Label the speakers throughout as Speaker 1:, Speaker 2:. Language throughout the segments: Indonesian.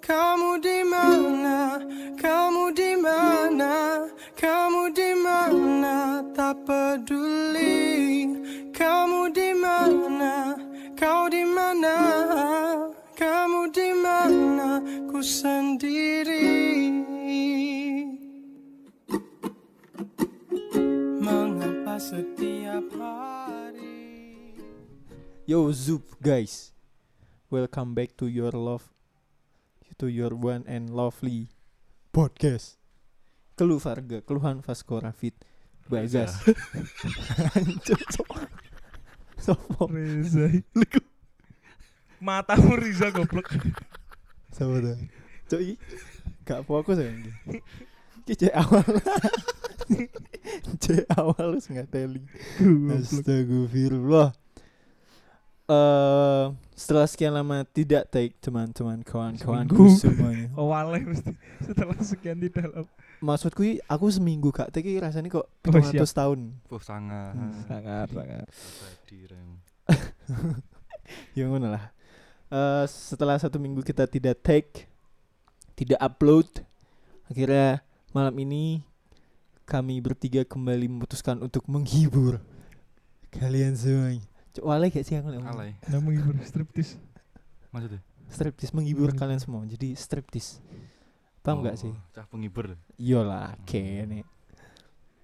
Speaker 1: Kamu di mana? Kamu di mana? Kamu di mana? Tak peduli. Kamu di mana? Kau di mana? Kamu di mana? Ku sendiri. Mengapa setiap hari?
Speaker 2: Yo Zoop guys, welcome back to your love, to your one and lovely podcast. Keluh Varga, keluhan Vasco Rafid, Bagas. Hancur, Cok. Sopo?
Speaker 3: Reza iku. Matamu Riza goblok.
Speaker 2: Sopo tuh? Cok iki gak fokus ya ini. Iki cek awal. cek awal wis ngateli. Astagfirullah. Eh, setelah sekian lama tidak take teman-teman kawan-kawanku semuanya.
Speaker 3: Seminggu. Awalnya mesti setelah sekian di dalam.
Speaker 2: maksudku i- aku seminggu gak take i rasanya kok
Speaker 3: Oh,
Speaker 2: 700
Speaker 3: siap. Ah,
Speaker 2: tahun Hmm.
Speaker 4: Puh sangat
Speaker 3: Sangat sangat.
Speaker 4: Tadi
Speaker 2: ya ngono lah Eh, setelah satu minggu kita tidak take tidak upload akhirnya malam ini kami bertiga kembali memutuskan untuk menghibur kalian semua cok wale gak sih aku lek ngomong?
Speaker 4: Alay
Speaker 3: Namun ibu Nah, striptis.
Speaker 4: Maksudnya
Speaker 2: striptis menghibur
Speaker 3: Hmm.
Speaker 2: kalian semua jadi striptis paham gak
Speaker 4: Oh,
Speaker 2: sih
Speaker 4: Cah penghibur
Speaker 2: Yolah, kene.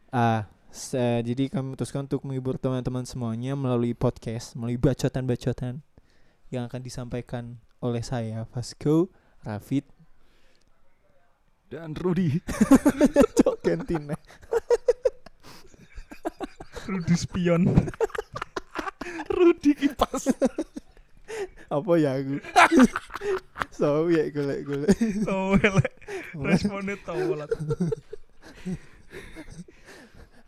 Speaker 2: Ah, se- jadi kami memutuskan untuk menghibur teman-teman semuanya melalui podcast, melalui bacotan-bacotan yang akan disampaikan oleh saya, Vasco, Rafid,
Speaker 4: Dan Rudy
Speaker 2: Cok Kentina.
Speaker 3: Rudy spion.
Speaker 4: Rudy kipas
Speaker 2: Apa ya aku? so ya golek-golek.
Speaker 3: Towel. Responnya towel.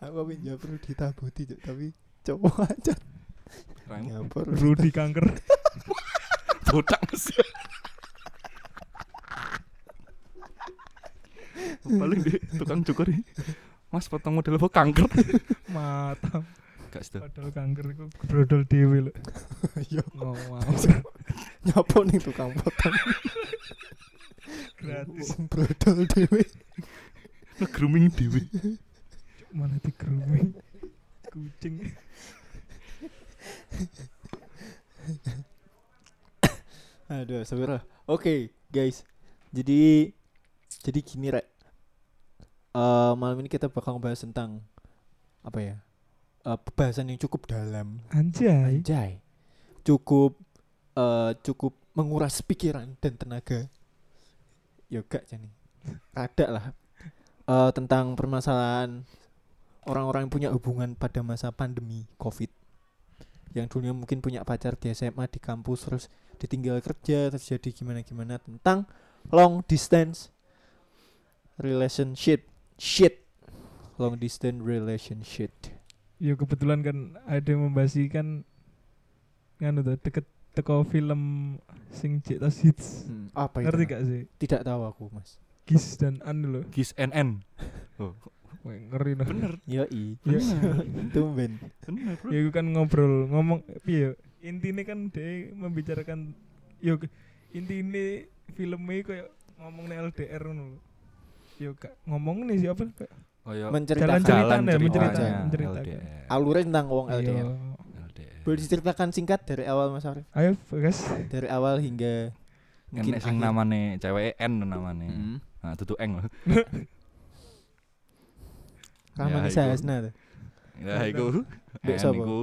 Speaker 2: aku pinjam perlu ditabuti, Cok, tapi coba aja
Speaker 4: Rang
Speaker 2: nyapor.
Speaker 3: Rudy kanker.
Speaker 4: botak sih Paling deh tukang cukur nih Mas potong model apa kanker
Speaker 3: Matam.
Speaker 4: Gak sih
Speaker 3: Padahal kanker iku brodol dhewe lho.
Speaker 4: Iya.
Speaker 2: Yo,
Speaker 3: Oh, wow.
Speaker 2: nyapo nih tukang potong.
Speaker 3: Gratis.
Speaker 2: Brodol dhewe.
Speaker 4: Nge-grooming dewe
Speaker 3: Mana di grooming. Kucing.
Speaker 2: Aduh, sabar. Oke, guys. Jadi jadi gini, Rek. Eh, malam ini kita bakal ngebahas tentang apa ya? Eh, pembahasan yang cukup dalam.
Speaker 3: Anjay.
Speaker 2: Anjay. Cukup eh cukup menguras pikiran dan tenaga. Ya gak jani. Rada lah. Eh, tentang permasalahan orang-orang yang punya hubungan pada masa pandemi Covid. Yang dulunya mungkin punya pacar di SMA, di kampus terus ditinggal kerja, terus jadi gimana-gimana tentang long distance relationship. Shit. Long distance relationship.
Speaker 3: Ya kebetulan kan ada yang membahas ini kan nganu tuh deket teko film sing cek tas hits.
Speaker 2: Hmm,
Speaker 4: Oh,
Speaker 2: apa
Speaker 4: iya.
Speaker 2: itu?
Speaker 3: Ngerti
Speaker 2: Mas?
Speaker 3: gak sih?
Speaker 2: Tidak tahu aku, Mas.
Speaker 3: Gis dan An lho.
Speaker 4: Gis NN Oh
Speaker 3: Wah, Ngeri loh.
Speaker 4: bener
Speaker 2: Yoi.
Speaker 3: Ya,
Speaker 2: Tumben.
Speaker 4: bener bro
Speaker 3: ya aku kan ngobrol ngomong piye intinya kan dia membicarakan yo intinya filmnya kayak ngomong LDR ngono lho. Yo gak ngomong nih siapa kayak
Speaker 4: Kayak
Speaker 2: Menceritakan ya,
Speaker 3: Jalan-jalan.
Speaker 4: jalan
Speaker 3: ceritanya,
Speaker 4: ceritanya
Speaker 2: menceritakan,
Speaker 3: menceritakan.
Speaker 4: LDR
Speaker 2: alurnya tentang wong LDR.
Speaker 3: yo,
Speaker 4: LDR
Speaker 2: Boleh diceritakan singkat dari awal Mas Arif?
Speaker 3: Ayo guys.
Speaker 2: Dari awal hingga mungkin
Speaker 4: Enek sing
Speaker 2: akhir.
Speaker 4: namane ceweke N namane.
Speaker 2: Hmm.
Speaker 4: Nah, tutu eng loh.
Speaker 2: Rahmani
Speaker 4: Ya, iku.
Speaker 2: Sahasna tuh.
Speaker 4: Ya iku.
Speaker 2: Mbek
Speaker 4: N
Speaker 2: sapa?
Speaker 4: iku.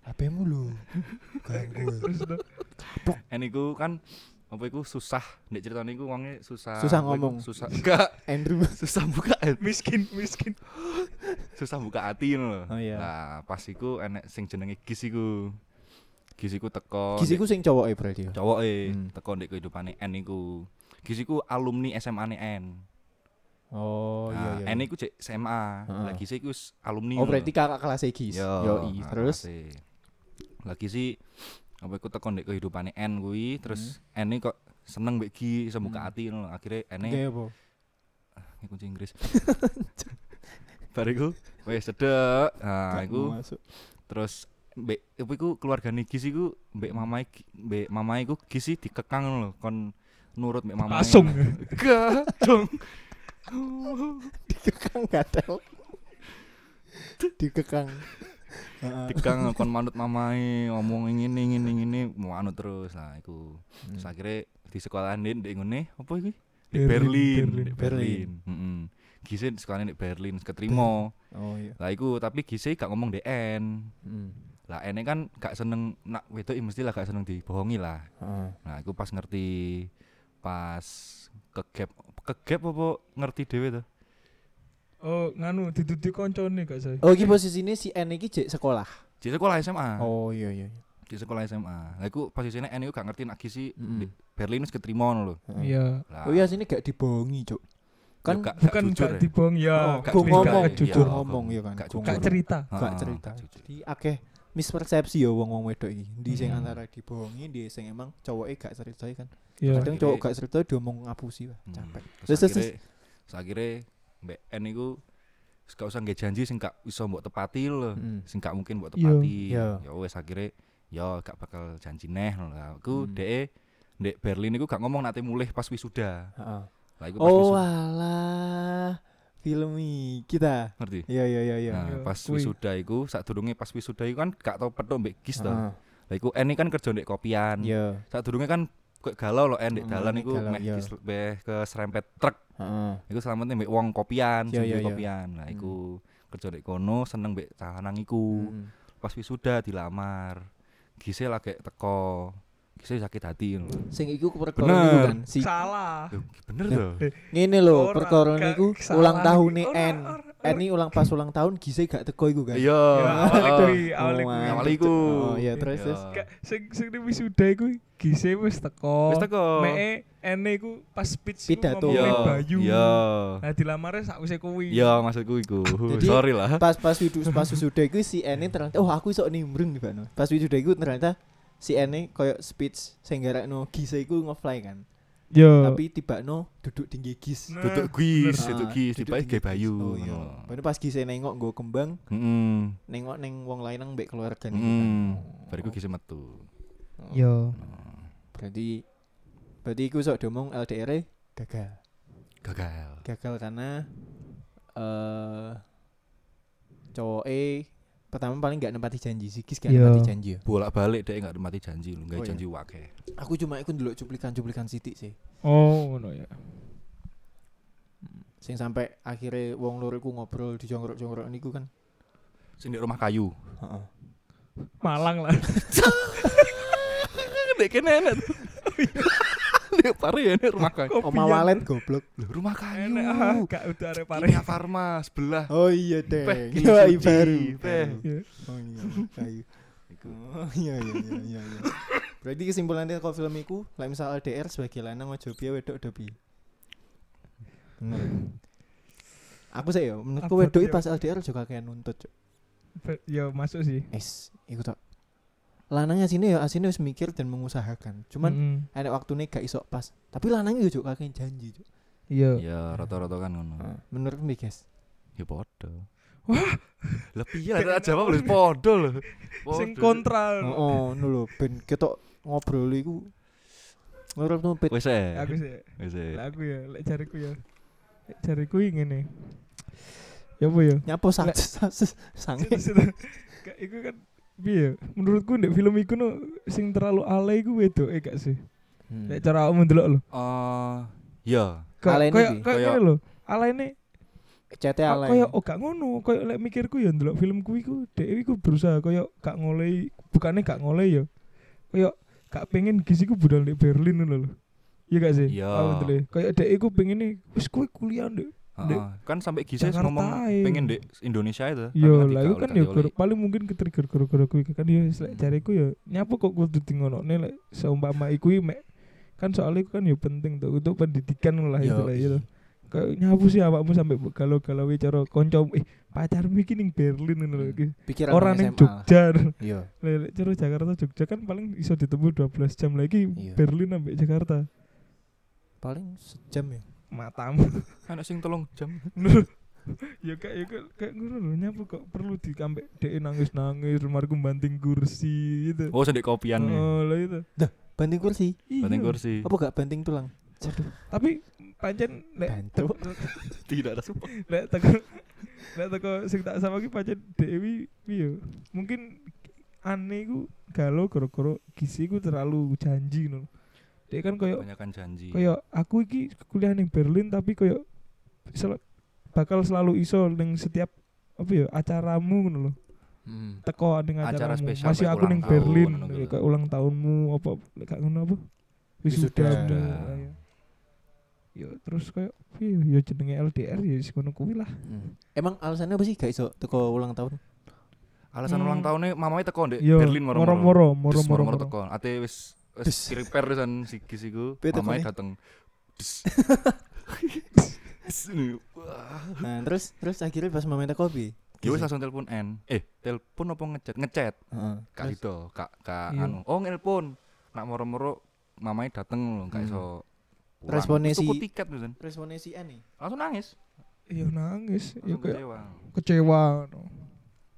Speaker 2: HP-mu lu. Ganggu.
Speaker 3: Terus tuh,
Speaker 4: N iku kan apa iku susah. Nek ceritane iku wonge susah.
Speaker 2: Susah
Speaker 4: apa iku?
Speaker 2: ngomong.
Speaker 4: Susah. Enggak,
Speaker 2: Andrew.
Speaker 4: susah buka
Speaker 3: miskin miskin.
Speaker 4: susah buka hati ngono lho.
Speaker 2: Oh, iya.
Speaker 4: Nah, pas iku enek sing jenenge Gis iku. Gis iku teko.
Speaker 2: Gisiku sing cowok berarti ya.
Speaker 4: cowok e
Speaker 2: Hmm.
Speaker 4: teko ndek kehidupane N iku. Gis iku alumni SMA ne N.
Speaker 2: Oh
Speaker 4: Nah,
Speaker 2: iya iya.
Speaker 4: N iku cek SMA.
Speaker 2: Heeh.
Speaker 4: Lah Gis iku s- alumni.
Speaker 2: Oh
Speaker 4: ngono lho.
Speaker 2: berarti kakak kelas Gis. Yoi.
Speaker 4: ah,
Speaker 2: Terus
Speaker 4: sih. lagi sih apa iku tekan ndek kehidupane N kuwi terus N ini kok seneng mbek Gi
Speaker 2: Hmm.
Speaker 4: semuka ati ngono lho. akhirnya N ini
Speaker 2: Gaya apa?
Speaker 4: ini kunci Inggris bar iku wis cedek nah
Speaker 2: Gak mau
Speaker 4: iku
Speaker 2: masuk.
Speaker 4: terus mbek apa iku keluargane Gi sih iku mbek mamae Gi- mbek mamae iku Gi sih dikekang ngono lho kon nurut mbek mamane.
Speaker 3: langsung
Speaker 4: Gadong.
Speaker 2: dikekang gatel dikekang Heeh.
Speaker 4: Dikang kon manut mamae ngomong ngene ngene ngene mau anu terus lah iku. Terus
Speaker 2: Hmm.
Speaker 4: akhirnya di sekolah Din ndek ngene apa iki? Di
Speaker 3: Berlin,
Speaker 4: Berlin,
Speaker 3: Berlin.
Speaker 4: di Berlin. Heeh. Gise sekolah di Berlin keterima.
Speaker 2: oh iya
Speaker 4: Lah iku tapi Gise gak ngomong DN.
Speaker 2: Mm.
Speaker 4: Lah ene kan gak seneng nak wedok i mestilah gak seneng dibohongi lah.
Speaker 2: Heeh.
Speaker 4: Nah, aku pas ngerti pas kegap kegap apa ngerti dhewe tuh.
Speaker 3: oh nganu dituduh koncone gak saya
Speaker 2: oh iki posisinya si N iki jek sekolah
Speaker 4: Di sekolah SMA.
Speaker 2: oh iya iya iya.
Speaker 4: Di sekolah SMA. Lah iku posisine N iku gak ngerti nak gisi
Speaker 2: Mm-mm.
Speaker 4: di Berlin wis keterima ngono lho.
Speaker 2: Heeh.
Speaker 3: iya
Speaker 4: Lah.
Speaker 2: oh iya sini gak dibohongi cuk
Speaker 4: yo
Speaker 2: kan
Speaker 4: Hmm. gak- gak
Speaker 3: bukan
Speaker 4: jujur
Speaker 3: gak
Speaker 4: ya.
Speaker 3: dibohong
Speaker 2: Oh,
Speaker 3: ya
Speaker 4: gak
Speaker 2: gua
Speaker 4: jujur.
Speaker 2: ngomong
Speaker 4: Gak-
Speaker 2: jujur
Speaker 4: iya,
Speaker 2: ngomong
Speaker 4: gak-
Speaker 2: ya kan
Speaker 4: gak
Speaker 2: Gua
Speaker 4: jujur.
Speaker 3: gak
Speaker 2: ngomong.
Speaker 3: cerita
Speaker 4: Ha,
Speaker 2: gak
Speaker 4: ha,
Speaker 2: cerita
Speaker 4: gak jujur.
Speaker 2: jadi akeh mispersepsi ya wong wong wedok iki di
Speaker 4: Iya.
Speaker 2: sing
Speaker 3: Hmm.
Speaker 2: antara dibohongi di sing emang cowoknya gak cerita kan
Speaker 3: iya
Speaker 2: kadang cowok gak cerita diomong ngapusi wah
Speaker 4: Hmm.
Speaker 2: capek
Speaker 4: Terus
Speaker 2: Terus, terus,
Speaker 4: akhirnya terus akhirnya Mbak N iku wis gak usah nggih janji sing gak iso mbok tepati lho.
Speaker 2: Mm.
Speaker 4: Sing gak mungkin mbok
Speaker 3: Iya.
Speaker 4: tepati.
Speaker 2: Iya.
Speaker 4: Ya wis akhirnya ya gak bakal janji neh ngono lah. Aku
Speaker 2: Mm.
Speaker 4: dhek ndek Berlin iku gak ngomong nate mulih pas wisuda.
Speaker 2: Heeh.
Speaker 4: Lah iku pas
Speaker 2: Oh
Speaker 4: wisuda.
Speaker 2: alah film kita.
Speaker 4: Ngerti?
Speaker 2: Iya iya iya iya.
Speaker 4: Nah,
Speaker 3: Iya,
Speaker 4: pas
Speaker 3: kui.
Speaker 4: wisuda iku sadurunge pas wisuda iku kan gak tau petuk mbek Gis to.
Speaker 2: Heeh.
Speaker 4: Lah iku Eni kan kerja ndek kopian.
Speaker 2: Iya.
Speaker 4: Sadurunge kan kok galau loh En ndek
Speaker 2: Hmm,
Speaker 4: dalan
Speaker 2: nek
Speaker 4: iku
Speaker 2: dalan,
Speaker 4: meh
Speaker 2: iya.
Speaker 4: Gis meh ke serempet truk.
Speaker 2: Heeh.
Speaker 4: Iku selamatnya mbek wong kopian, sing
Speaker 2: Iya, iya, Hmm.
Speaker 4: duwe
Speaker 2: iya.
Speaker 4: kopian. Lah iku kerja ndek kono seneng mbek lanang iku.
Speaker 2: Mm.
Speaker 4: Pas wisuda dilamar. Gise lagi teko. Gise sakit hati lho.
Speaker 2: Sing iku perkara
Speaker 4: Bener.
Speaker 2: niku kan si
Speaker 3: salah
Speaker 4: Loh, Bener tuh.
Speaker 2: ngene lho
Speaker 3: Ora,
Speaker 2: perkara
Speaker 3: gak
Speaker 2: niku
Speaker 3: kesalahan
Speaker 2: ulang
Speaker 3: iki.
Speaker 2: tahune
Speaker 3: Ora,
Speaker 2: N.
Speaker 3: ora,
Speaker 2: N ini ulang pas ulang tahun gise gak teko iku kan.
Speaker 4: Iya.
Speaker 3: Ya, awalnya
Speaker 4: heeh.
Speaker 3: kui, awalnya kui.
Speaker 2: Wah.
Speaker 4: Awalnya iku.
Speaker 2: Oh iya terus
Speaker 4: Iya.
Speaker 2: terus.
Speaker 3: Gak, sing sing di wisuda iku gise wis teko.
Speaker 2: oh,
Speaker 4: Wis teko.
Speaker 2: eh,
Speaker 3: Mee ene iku pas speech iku
Speaker 2: Pidato.
Speaker 4: Iya.
Speaker 3: ngomongin Bayu.
Speaker 4: Iya.
Speaker 3: Nah dilamare sakwise kuwi.
Speaker 4: Iya maksudku iku.
Speaker 2: Ah, Jadi,
Speaker 4: Sorry lah.
Speaker 2: Pas pas widu pas wisuda iku si N ini ternyata oh aku iso nimbrung di Bano. Pas wisuda iku ternyata si N ini koyo speech sing garakno gise iku ngefly kan.
Speaker 3: Yo.
Speaker 2: Tapi tibakno duduk tinggi gis.
Speaker 3: Nah,
Speaker 4: Duduk guis,
Speaker 2: Ah,
Speaker 4: duduk guis,
Speaker 2: duduk
Speaker 4: tiba
Speaker 2: tinggi
Speaker 4: gay bayu.
Speaker 2: Oh iya. Padahal pas gise nengok nggo kembang,
Speaker 4: Heeh.
Speaker 2: nengok neng wong lanang mbek keluarga niku kan.
Speaker 4: Heeh. Bariku gisi metu.
Speaker 2: Oh.
Speaker 3: Yo.
Speaker 2: Berarti berarti iku sok diomong LDR -e gagal.
Speaker 4: Gagal.
Speaker 2: Gagal karena eh cowok e pertama paling gak nepati janji sih, Gis gak
Speaker 3: Iya.
Speaker 2: nepati janji ya.
Speaker 4: Bolak-balik deh nggak mati janji lu,
Speaker 2: Oh
Speaker 4: nggak
Speaker 2: iya.
Speaker 4: janji wake.
Speaker 2: Aku cuma ikut dulu cuplikan-cuplikan sitik sih.
Speaker 3: Oh ngono ya.
Speaker 2: Sing sampai akhirnya wong loro iku ngobrol di jongrok-jongrok niku kan.
Speaker 4: Sing di rumah kayu.
Speaker 2: Heeh.
Speaker 3: Malang lah.
Speaker 4: Dek kene enak. Dek pare ya ini rumah kayu.
Speaker 3: Oh,
Speaker 2: Oma Walet goblok.
Speaker 4: Loh, rumah
Speaker 3: Enak ah,
Speaker 4: kayu.
Speaker 3: gak udah repare.
Speaker 4: Kimia Farma sebelah.
Speaker 2: Oh iya deh.
Speaker 4: Peh, Ki
Speaker 2: Iya
Speaker 4: Sudi,
Speaker 2: baru.
Speaker 4: peh.
Speaker 2: Oh iya, kayu. Oh iya iya iya iya. iya. Berarti kesimpulannya kalau film iku, lek misal LDR sebagai lanang ojo piye wedok do piye. Bener. Aku sih ya, menurutku
Speaker 3: Abot
Speaker 2: wedok
Speaker 3: ya.
Speaker 2: iki pas LDR ojo kakean nuntut. Cuk.
Speaker 3: Be- Yo masuk sih.
Speaker 2: Es, iku tok. Lanangnya sini ya, asine wis mikir dan mengusahakan. Cuman
Speaker 3: Mm-mm.
Speaker 2: enek waktune gak iso pas. Tapi lanangnya ojo kakean janji. Cuk.
Speaker 3: Yo.
Speaker 4: Ya rata-rata kan ngono.
Speaker 2: Menurutmu piye, guys?
Speaker 4: Ya podo. Wah, lah piye lah tak jawab lho podo lho.
Speaker 3: Sing
Speaker 4: Podo.
Speaker 3: kontra.
Speaker 2: Oh, oh nulo ben ketok ngobrol iku. Menurutmu pit
Speaker 4: Wes eh.
Speaker 3: Aku sih.
Speaker 4: Wes eh.
Speaker 3: Lah aku ya, lek jariku ya. Lek jariku ngene. Ya apa ya?
Speaker 2: nyapo sang
Speaker 3: Lek-
Speaker 2: sange.
Speaker 3: Situ- situ. Gak, Iku kan piye? ya? Menurutku ndek film iku no sing terlalu alay iku wedoke gak sih?
Speaker 2: Hmm.
Speaker 3: Lek cara awakmu ndelok lho.
Speaker 4: Eh, ya.
Speaker 3: Kayak
Speaker 2: Alayne
Speaker 3: kayak
Speaker 2: piye?
Speaker 3: kayak
Speaker 4: Kayak-
Speaker 3: ngene lho. Alayne
Speaker 2: Cete
Speaker 3: kok
Speaker 2: alay.
Speaker 3: kayak oh gak ngono, kayak lek mikirku ya ndelok film kuwi iku dhek iku berusaha kayak gak ngoleh, bukannya gak ngoleh ya. Kayak gak pengen gizi ku budal ndek Berlin ngono lho. Iya gak sih?
Speaker 4: Iya.
Speaker 3: Awakmu ndelok. Kayak dhek iku pengine wis kowe kuliah ndek Dek,
Speaker 4: Heeh. Kan sampai Gise
Speaker 3: Jakarta
Speaker 4: ngomong
Speaker 3: ae.
Speaker 4: pengen di Indonesia itu. tapi
Speaker 3: Yo
Speaker 4: nanti
Speaker 3: lah iku
Speaker 4: gaul
Speaker 3: kan
Speaker 4: kali
Speaker 3: ya
Speaker 4: oli.
Speaker 3: gara- paling mungkin ketrigger gara-gara kuwi kan ya wis lek jariku ya nyapa kok kudu di ngonokne lek seumpama iku iki, mek kan soalnya iku kan ya penting tuh untuk pendidikan lah itu
Speaker 2: Yo,
Speaker 3: lah
Speaker 2: iya.
Speaker 3: itu. Kayak nyapu sih awakmu sampai galau-galau cara kanca eh pacarmu iki ning Berlin ngono lho
Speaker 2: Hmm.
Speaker 3: iki.
Speaker 2: Pikiran
Speaker 3: Ora
Speaker 2: orang SMA
Speaker 3: ning
Speaker 2: lah.
Speaker 3: Jogja. Lah
Speaker 2: Iya.
Speaker 3: lek cara Jakarta Jogja kan paling iso ditempuh 12 jam lagi
Speaker 2: Iya.
Speaker 3: Berlin sampai Jakarta.
Speaker 2: Paling sejam ya.
Speaker 3: Matamu.
Speaker 4: Anak sing tolong jam.
Speaker 3: Lho, ya kayak ya kayak kayak ngono lho nyapa kok perlu dikambek dhek nangis-nangis marku banting kursi gitu.
Speaker 4: Oh, sendek kopian.
Speaker 3: Oh, lah itu. Iya.
Speaker 2: Banting kursi.
Speaker 3: Hmm.
Speaker 4: Banting kursi.
Speaker 2: Apa gak banting tulang? Waduh,
Speaker 3: tapi pancen lek
Speaker 2: bantu.
Speaker 4: tidak ada support
Speaker 3: lek teko lek teko sing tak sama ki pancen Dewi piye mungkin aneh ku galau gara-gara gizi ku terlalu janji no dia kan koyo
Speaker 4: kebanyakan janji
Speaker 3: koyo aku iki kuliah ning Berlin tapi koyo sel- bakal selalu iso ning setiap apa ya acaramu ngono lho
Speaker 4: Hmm.
Speaker 3: teko ning
Speaker 4: Acara
Speaker 3: acaramu
Speaker 4: spesial
Speaker 3: masih
Speaker 4: kayak
Speaker 3: aku
Speaker 4: ulang
Speaker 3: ning
Speaker 4: tahun,
Speaker 3: Berlin
Speaker 4: ngono
Speaker 3: ya,
Speaker 4: gitu.
Speaker 3: kayak ulang tahunmu apa gak ngono apa
Speaker 2: Wisuda.
Speaker 3: wisudamu
Speaker 4: Wisuda.
Speaker 3: ah, ya. yo terus koyo piye yo jenenge LDR yo sing ngono kuwi lah
Speaker 2: Hmm. Emang alasannya apa sih gak iso teko ulang tahun?
Speaker 4: alasan
Speaker 3: Hmm.
Speaker 4: ulang tahunnya mamanya teko ndek
Speaker 3: yo
Speaker 4: Berlin moro-moro
Speaker 3: moro-moro
Speaker 4: Terus
Speaker 3: moro-moro
Speaker 4: moro-moro
Speaker 3: moro.
Speaker 4: teko ate wis
Speaker 2: Terus.
Speaker 4: wis repair pisan sigis iku
Speaker 2: Piye tekone?
Speaker 4: mamanya dateng Terus. Wah.
Speaker 2: Nah, terus terus akhirnya pas mau minta kopi.
Speaker 4: Ya wis langsung telepon N. Eh, telepon apa ngechat? Ngechat.
Speaker 2: Heeh.
Speaker 4: Kak Rido, Kak Kak
Speaker 3: Iya.
Speaker 4: anu. Oh, ngelpon. Nak moro-moro mamai dateng lho, gak
Speaker 2: Hmm.
Speaker 4: iso. pulang.
Speaker 2: Responnya
Speaker 4: Terus tuku
Speaker 2: si-
Speaker 4: tiket pisan.
Speaker 2: Responnya si N nih.
Speaker 4: Langsung nangis.
Speaker 3: yo nangis yo
Speaker 4: Langsung
Speaker 3: kayak
Speaker 4: kecewa.
Speaker 3: kecewa no.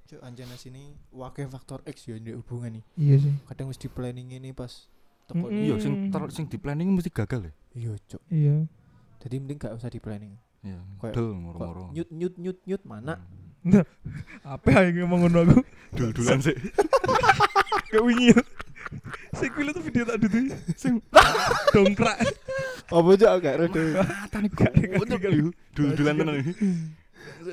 Speaker 2: Cuk anjana sini wakil faktor X ya ndek hubungan nih.
Speaker 3: iya sih
Speaker 2: Kadang wis di planning ini pas teko.
Speaker 3: Mm-mm.
Speaker 4: Iya, sing ter, sing di planning mesti gagal ya.
Speaker 2: Iya, Cuk.
Speaker 3: iya
Speaker 2: Jadi mending gak usah di planning.
Speaker 4: Iya,
Speaker 2: Kayak-
Speaker 4: del moro-moro. Hmm.
Speaker 2: Nyut nyut nyut nyut mana?
Speaker 3: apa yang ngomong ngono aku
Speaker 4: Dul-dulan sih.
Speaker 3: Gak wingi. Sing kuwi lho tuh video tak dudu. Sing dongkrak.
Speaker 2: Apa cuk gak rodo.
Speaker 4: Matane goblok. Dul-dulan tenan.
Speaker 3: Ya kan?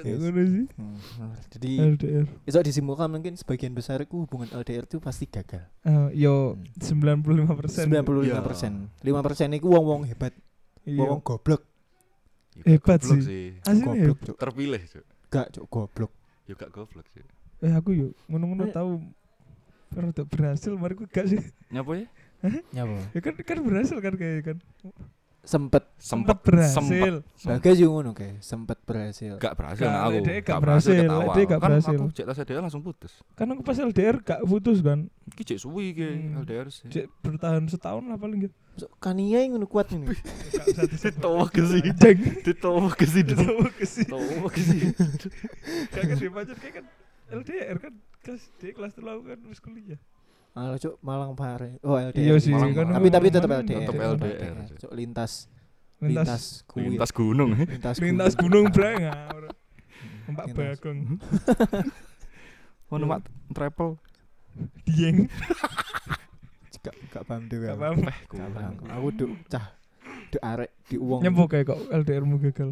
Speaker 3: ngono sih.
Speaker 4: Mm.
Speaker 2: Jadi
Speaker 3: LDR.
Speaker 2: esok disimpulkan mungkin sebagian besar itu hubungan LDR itu pasti gagal.
Speaker 3: Eh, yo 95%.
Speaker 2: 95%.
Speaker 4: Iya.
Speaker 2: 5% itu wong-wong hebat,
Speaker 3: Iya.
Speaker 2: wong-wong goblok.
Speaker 4: Ya,
Speaker 3: Hebat
Speaker 4: goblok
Speaker 3: sih. Asli ya.
Speaker 2: Goblok, Cuk.
Speaker 4: Terpilih, Cuk.
Speaker 2: Gak, Cuk, goblok.
Speaker 4: Ya gak goblok sih.
Speaker 3: Eh aku yo ngono-ngono
Speaker 2: Eh.
Speaker 3: tahu Baru tak berhasil, mari ku gak sih.
Speaker 4: Nyapa ya?
Speaker 2: Nyapa?
Speaker 3: Ya kan kan berhasil kan kayak kan.
Speaker 2: Sempet
Speaker 3: Sempet
Speaker 4: Sempet sempet.
Speaker 3: berhasil.
Speaker 4: Sempet.
Speaker 2: Bagas juga ngono kayak sempet berhasil.
Speaker 4: Gak berhasil
Speaker 3: Gak,
Speaker 4: nah aku.
Speaker 3: dia gak berhasil,
Speaker 4: ketawa.
Speaker 3: dia gak
Speaker 4: Kan
Speaker 3: berhasil.
Speaker 4: aku cek tas dia langsung putus.
Speaker 3: Kan aku pas LDR gak putus kan.
Speaker 4: Ki cek suwi ki
Speaker 3: Hmm.
Speaker 4: LDR sih.
Speaker 3: Cek bertahan setahun lah paling gitu.
Speaker 2: So, Kania yang ngono kuat ini.
Speaker 3: Gak satu
Speaker 4: Ditawa
Speaker 3: setahun.
Speaker 4: ke sih.
Speaker 3: Jeng.
Speaker 4: Ditawa ke sih.
Speaker 3: Tahu ke sih.
Speaker 4: Ditawa ke sih.
Speaker 3: Kakak dia pacar kayak kan LDR kan kelas D kelas telu aku kan wis kuliah.
Speaker 2: Malah Cuk Malang Pare. Oh,
Speaker 3: Iya
Speaker 2: LDR.
Speaker 3: sih,
Speaker 4: Malang
Speaker 3: kan
Speaker 4: Malang.
Speaker 2: Tapi tapi tetap
Speaker 3: Malang
Speaker 2: LDR.
Speaker 4: Tetap LDR, Cuk.
Speaker 2: Cuk lintas
Speaker 3: Lintas
Speaker 2: lintas kuil.
Speaker 4: Lintas gunung. eh.
Speaker 2: lintas
Speaker 3: lintas
Speaker 2: kuil.
Speaker 3: gunung brang. ah, ora. Empat
Speaker 2: Lintas.
Speaker 3: bagong
Speaker 4: Ngono mak travel.
Speaker 3: dieng
Speaker 2: Gak gak paham tuh.
Speaker 3: gak
Speaker 2: Gak
Speaker 3: paham.
Speaker 2: Gak paham. Aku duk cah duk arek di uang.
Speaker 3: Nyempo kayak kok LDR mu gagal.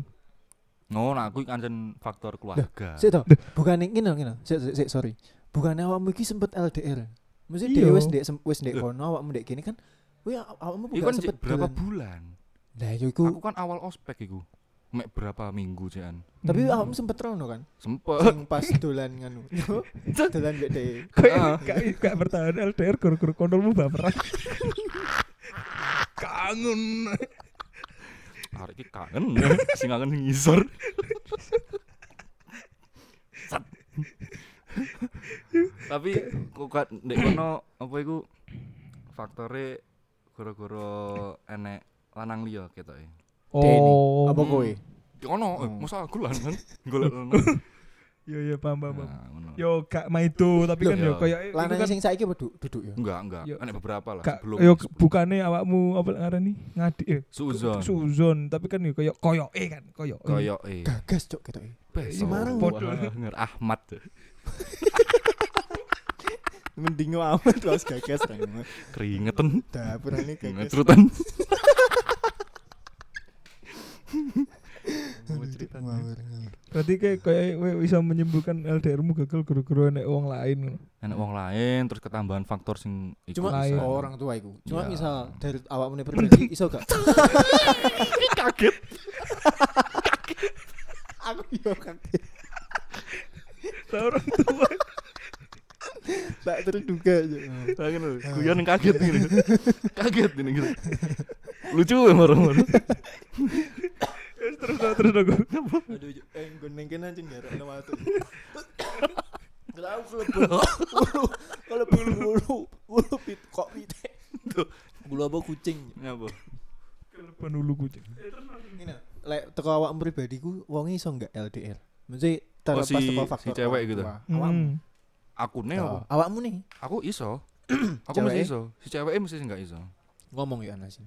Speaker 4: No, nah aku kan faktor keluarga.
Speaker 2: Sik to, bukan ini loh, ini loh. Sik sik sik, sorry. Bukan awakmu iki sempet LDR. Mesti
Speaker 3: Iya.
Speaker 2: dhewe wis ndek sem- wis ndek
Speaker 4: Loh.
Speaker 2: kono awakmu ndek kene kan. Kuwi aw- awakmu
Speaker 4: Iku
Speaker 2: bukan
Speaker 4: kan
Speaker 2: sempet
Speaker 4: cek berapa
Speaker 2: dolan.
Speaker 4: bulan?
Speaker 2: Lah ya
Speaker 4: Aku
Speaker 2: iku,
Speaker 4: kan awal ospek iku. Mek berapa minggu cekan?
Speaker 2: tapi
Speaker 3: Hmm.
Speaker 2: awakmu sempet rono kan.
Speaker 4: Sempet.
Speaker 2: Sing pas dolan nganu. Dolan ndek dhewe.
Speaker 4: Heeh.
Speaker 3: kayak ya? gak gak bertahan LDR gur-gur kontrolmu baperan. Kangen.
Speaker 4: Arek iki kangen. eh, Sing kangen sing ngisor. Sat. Tapi kok kat ndek kono apa iku faktore gara-gara enek lanang liya e. ketoke.
Speaker 2: Deni.
Speaker 3: Oh.
Speaker 2: Apa kowe?
Speaker 4: Di kono, eh,
Speaker 2: Hmm.
Speaker 4: masa aku lan kan golek lanang.
Speaker 3: Yo yo paham paham. paham.
Speaker 4: Nah, ngono.
Speaker 3: Yo gak maido tapi
Speaker 4: Loh.
Speaker 3: kan yo
Speaker 4: Yo.
Speaker 3: kayak itu
Speaker 2: Lanang
Speaker 3: kan
Speaker 2: sing saiki apa duduk duduk ya?
Speaker 4: Enggak, enggak.
Speaker 3: Yo.
Speaker 4: Enek beberapa lah
Speaker 3: gak
Speaker 4: sebelum.
Speaker 3: yo bukannya awakmu apa ngarani ngadi eh
Speaker 4: Suzon.
Speaker 3: suzon tapi kan yo kayak koyoke kan koyoke.
Speaker 4: Koyok e.
Speaker 2: Gagas cok ketoke.
Speaker 4: Besok.
Speaker 2: Semarang.
Speaker 4: Podo. Nger Ahmad.
Speaker 2: Mending amat harus gagas kan.
Speaker 4: Keringetan.
Speaker 2: Dapurane gagas.
Speaker 4: Ngetrutan.
Speaker 2: Ngawur, ngawur.
Speaker 3: Berarti kayak e, kayak we bisa menyembuhkan LDR-mu gagal gara-gara nek wong lain.
Speaker 4: enak wong lain terus ketambahan faktor sing ikut
Speaker 2: Cuma
Speaker 3: Lain.
Speaker 4: di sana.
Speaker 2: oh, orang tua iku. Cuma
Speaker 4: Ya.
Speaker 2: misal dari awakmu pribadi iso gak?
Speaker 4: kaget
Speaker 2: Aku yo kan. kaget.
Speaker 3: Orang tua.
Speaker 2: Tak terduga aja.
Speaker 4: kangen lho
Speaker 2: Iya.
Speaker 4: guyon yang kaget ini kaget ini gitu lucu ya marah-marah
Speaker 3: terus terus terus aku.
Speaker 2: Aduh, eh guneng kene anjing gak ono waktu. Kalau kalau bulu bulu bulu pit kok pit. Bulu apa kucing?
Speaker 4: apa
Speaker 3: Keleban ulu kucing.
Speaker 2: Ini lek teko awakmu pribadi ku wonge iso gak LDR? Mesti terlepas
Speaker 4: Oh, si-
Speaker 2: teko
Speaker 4: si
Speaker 2: faktor
Speaker 4: cewek
Speaker 2: orang
Speaker 4: gitu.
Speaker 2: tua. Awakmu.
Speaker 3: Hmm.
Speaker 4: aku nih apa
Speaker 2: Oh, Awakmu nih
Speaker 4: aku iso aku mesti
Speaker 2: Cewek?
Speaker 4: iso si cewek mesti nggak iso
Speaker 2: ngomong ya Anas.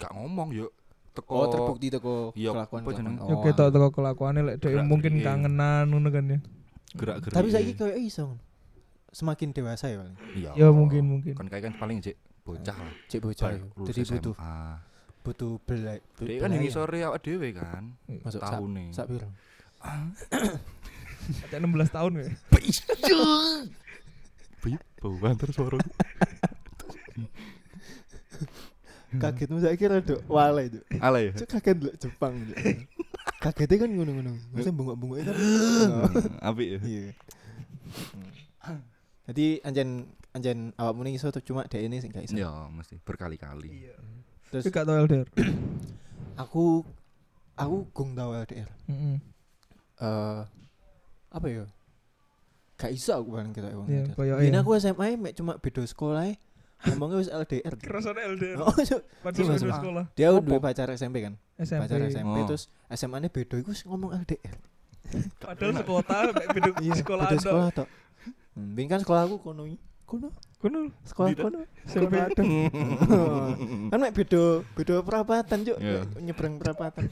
Speaker 4: gak ngomong yuk teko
Speaker 2: Oh, terbukti teko
Speaker 4: Iya,
Speaker 2: kelakuan
Speaker 4: apa jeneng? Oh,
Speaker 2: kelakuan.
Speaker 3: Yo ketok teko kelakuane lek dhek
Speaker 4: Gerak
Speaker 3: mungkin
Speaker 4: geriki.
Speaker 3: kangenan ngono kan ya.
Speaker 4: gerak-gerik.
Speaker 2: Tapi saiki koyo iso. Semakin dewasa ya paling.
Speaker 4: Iya.
Speaker 3: Ya mungkin mungkin.
Speaker 4: Kan kayak kan paling cek bocah lah.
Speaker 2: Cek bocah.
Speaker 4: baru
Speaker 2: yo.
Speaker 4: lulus
Speaker 2: Jadi
Speaker 4: SMA.
Speaker 2: butuh butuh belai.
Speaker 4: Dia kan yang sore awak dhewe kan.
Speaker 2: Masuk sak
Speaker 4: Tahun nih.
Speaker 2: sak piro?
Speaker 3: Ada 16 tahun ya.
Speaker 4: Bau banter suara. Hmm.
Speaker 2: Kagetmu saiki rada wale itu.
Speaker 4: Ala ya.
Speaker 2: Cuk kaget lek Jepang. Cuk.
Speaker 4: Iya.
Speaker 2: Kagetnya kan ngono-ngono. Masa bengok-bengok itu.
Speaker 4: Apik ya.
Speaker 2: Iya. Jadi anjen anjen awakmu ning iso cuma dhek ini sing gak iso.
Speaker 4: Iya, mesti berkali-kali.
Speaker 2: Terus
Speaker 3: Tapi gak tau LDR.
Speaker 2: aku aku gong tau LDR.
Speaker 3: Heeh.
Speaker 2: Eh apa ya? Gak iso aku bareng kita wong.
Speaker 3: Iya,
Speaker 2: LDR.
Speaker 3: koyoke
Speaker 2: Biyen
Speaker 3: ya.
Speaker 2: aku SMA mek cuma beda sekolah ngomongnya wis LDR.
Speaker 3: Kerasane LDR.
Speaker 2: Oh, so-
Speaker 3: Padahal
Speaker 2: Iya,
Speaker 3: udah
Speaker 2: iya.
Speaker 3: sekolah
Speaker 2: dia
Speaker 4: Opo?
Speaker 2: udah pacar SMP kan?
Speaker 3: SMP.
Speaker 2: Pacar SMP
Speaker 4: Oh.
Speaker 2: terus SMA-ne beda iku wis ngomong LDR.
Speaker 3: Padahal sekota mek beda Iya, sekolah
Speaker 2: beda sekolah tok. Hmm, biyen kan sekolah aku kono i- kono
Speaker 3: Kuno.
Speaker 2: sekolah
Speaker 4: Tidak.
Speaker 2: kono sekolah ada kan mek beda beda perapatan cuk
Speaker 4: Iya.
Speaker 2: nyebrang perapatan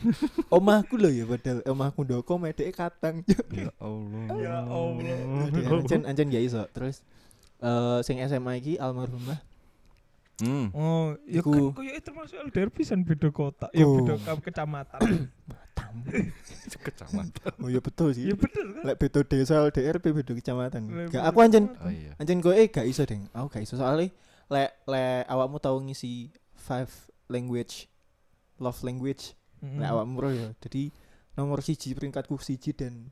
Speaker 2: omahku lho ya padahal omahku ndoko medeke katang cuk
Speaker 4: Ya Allah.
Speaker 3: Ya Allah.
Speaker 2: Oh. anjen anjen ya iso terus eh sing SMA iki almarhumah
Speaker 4: Hmm.
Speaker 3: Oh, ya
Speaker 2: Iku.
Speaker 3: kan koyoke termasuk LDR pisan beda kota, ya
Speaker 2: Oh.
Speaker 3: beda kam- kecamatan.
Speaker 2: tam
Speaker 4: Kecamatan.
Speaker 2: oh ya betul sih
Speaker 3: Ya bener kan?
Speaker 2: lek beda desa LDR pe beda kecamatan
Speaker 3: Lek
Speaker 2: gak
Speaker 3: beda
Speaker 2: aku anjen
Speaker 4: Oh iya.
Speaker 2: anjen kowe eh, gak iso deng aku gak iso soalnya lek lek awakmu tau ngisi five language love language
Speaker 3: Mm.
Speaker 2: Nek awakmu roh ya. Jadi nomor siji peringkatku siji dan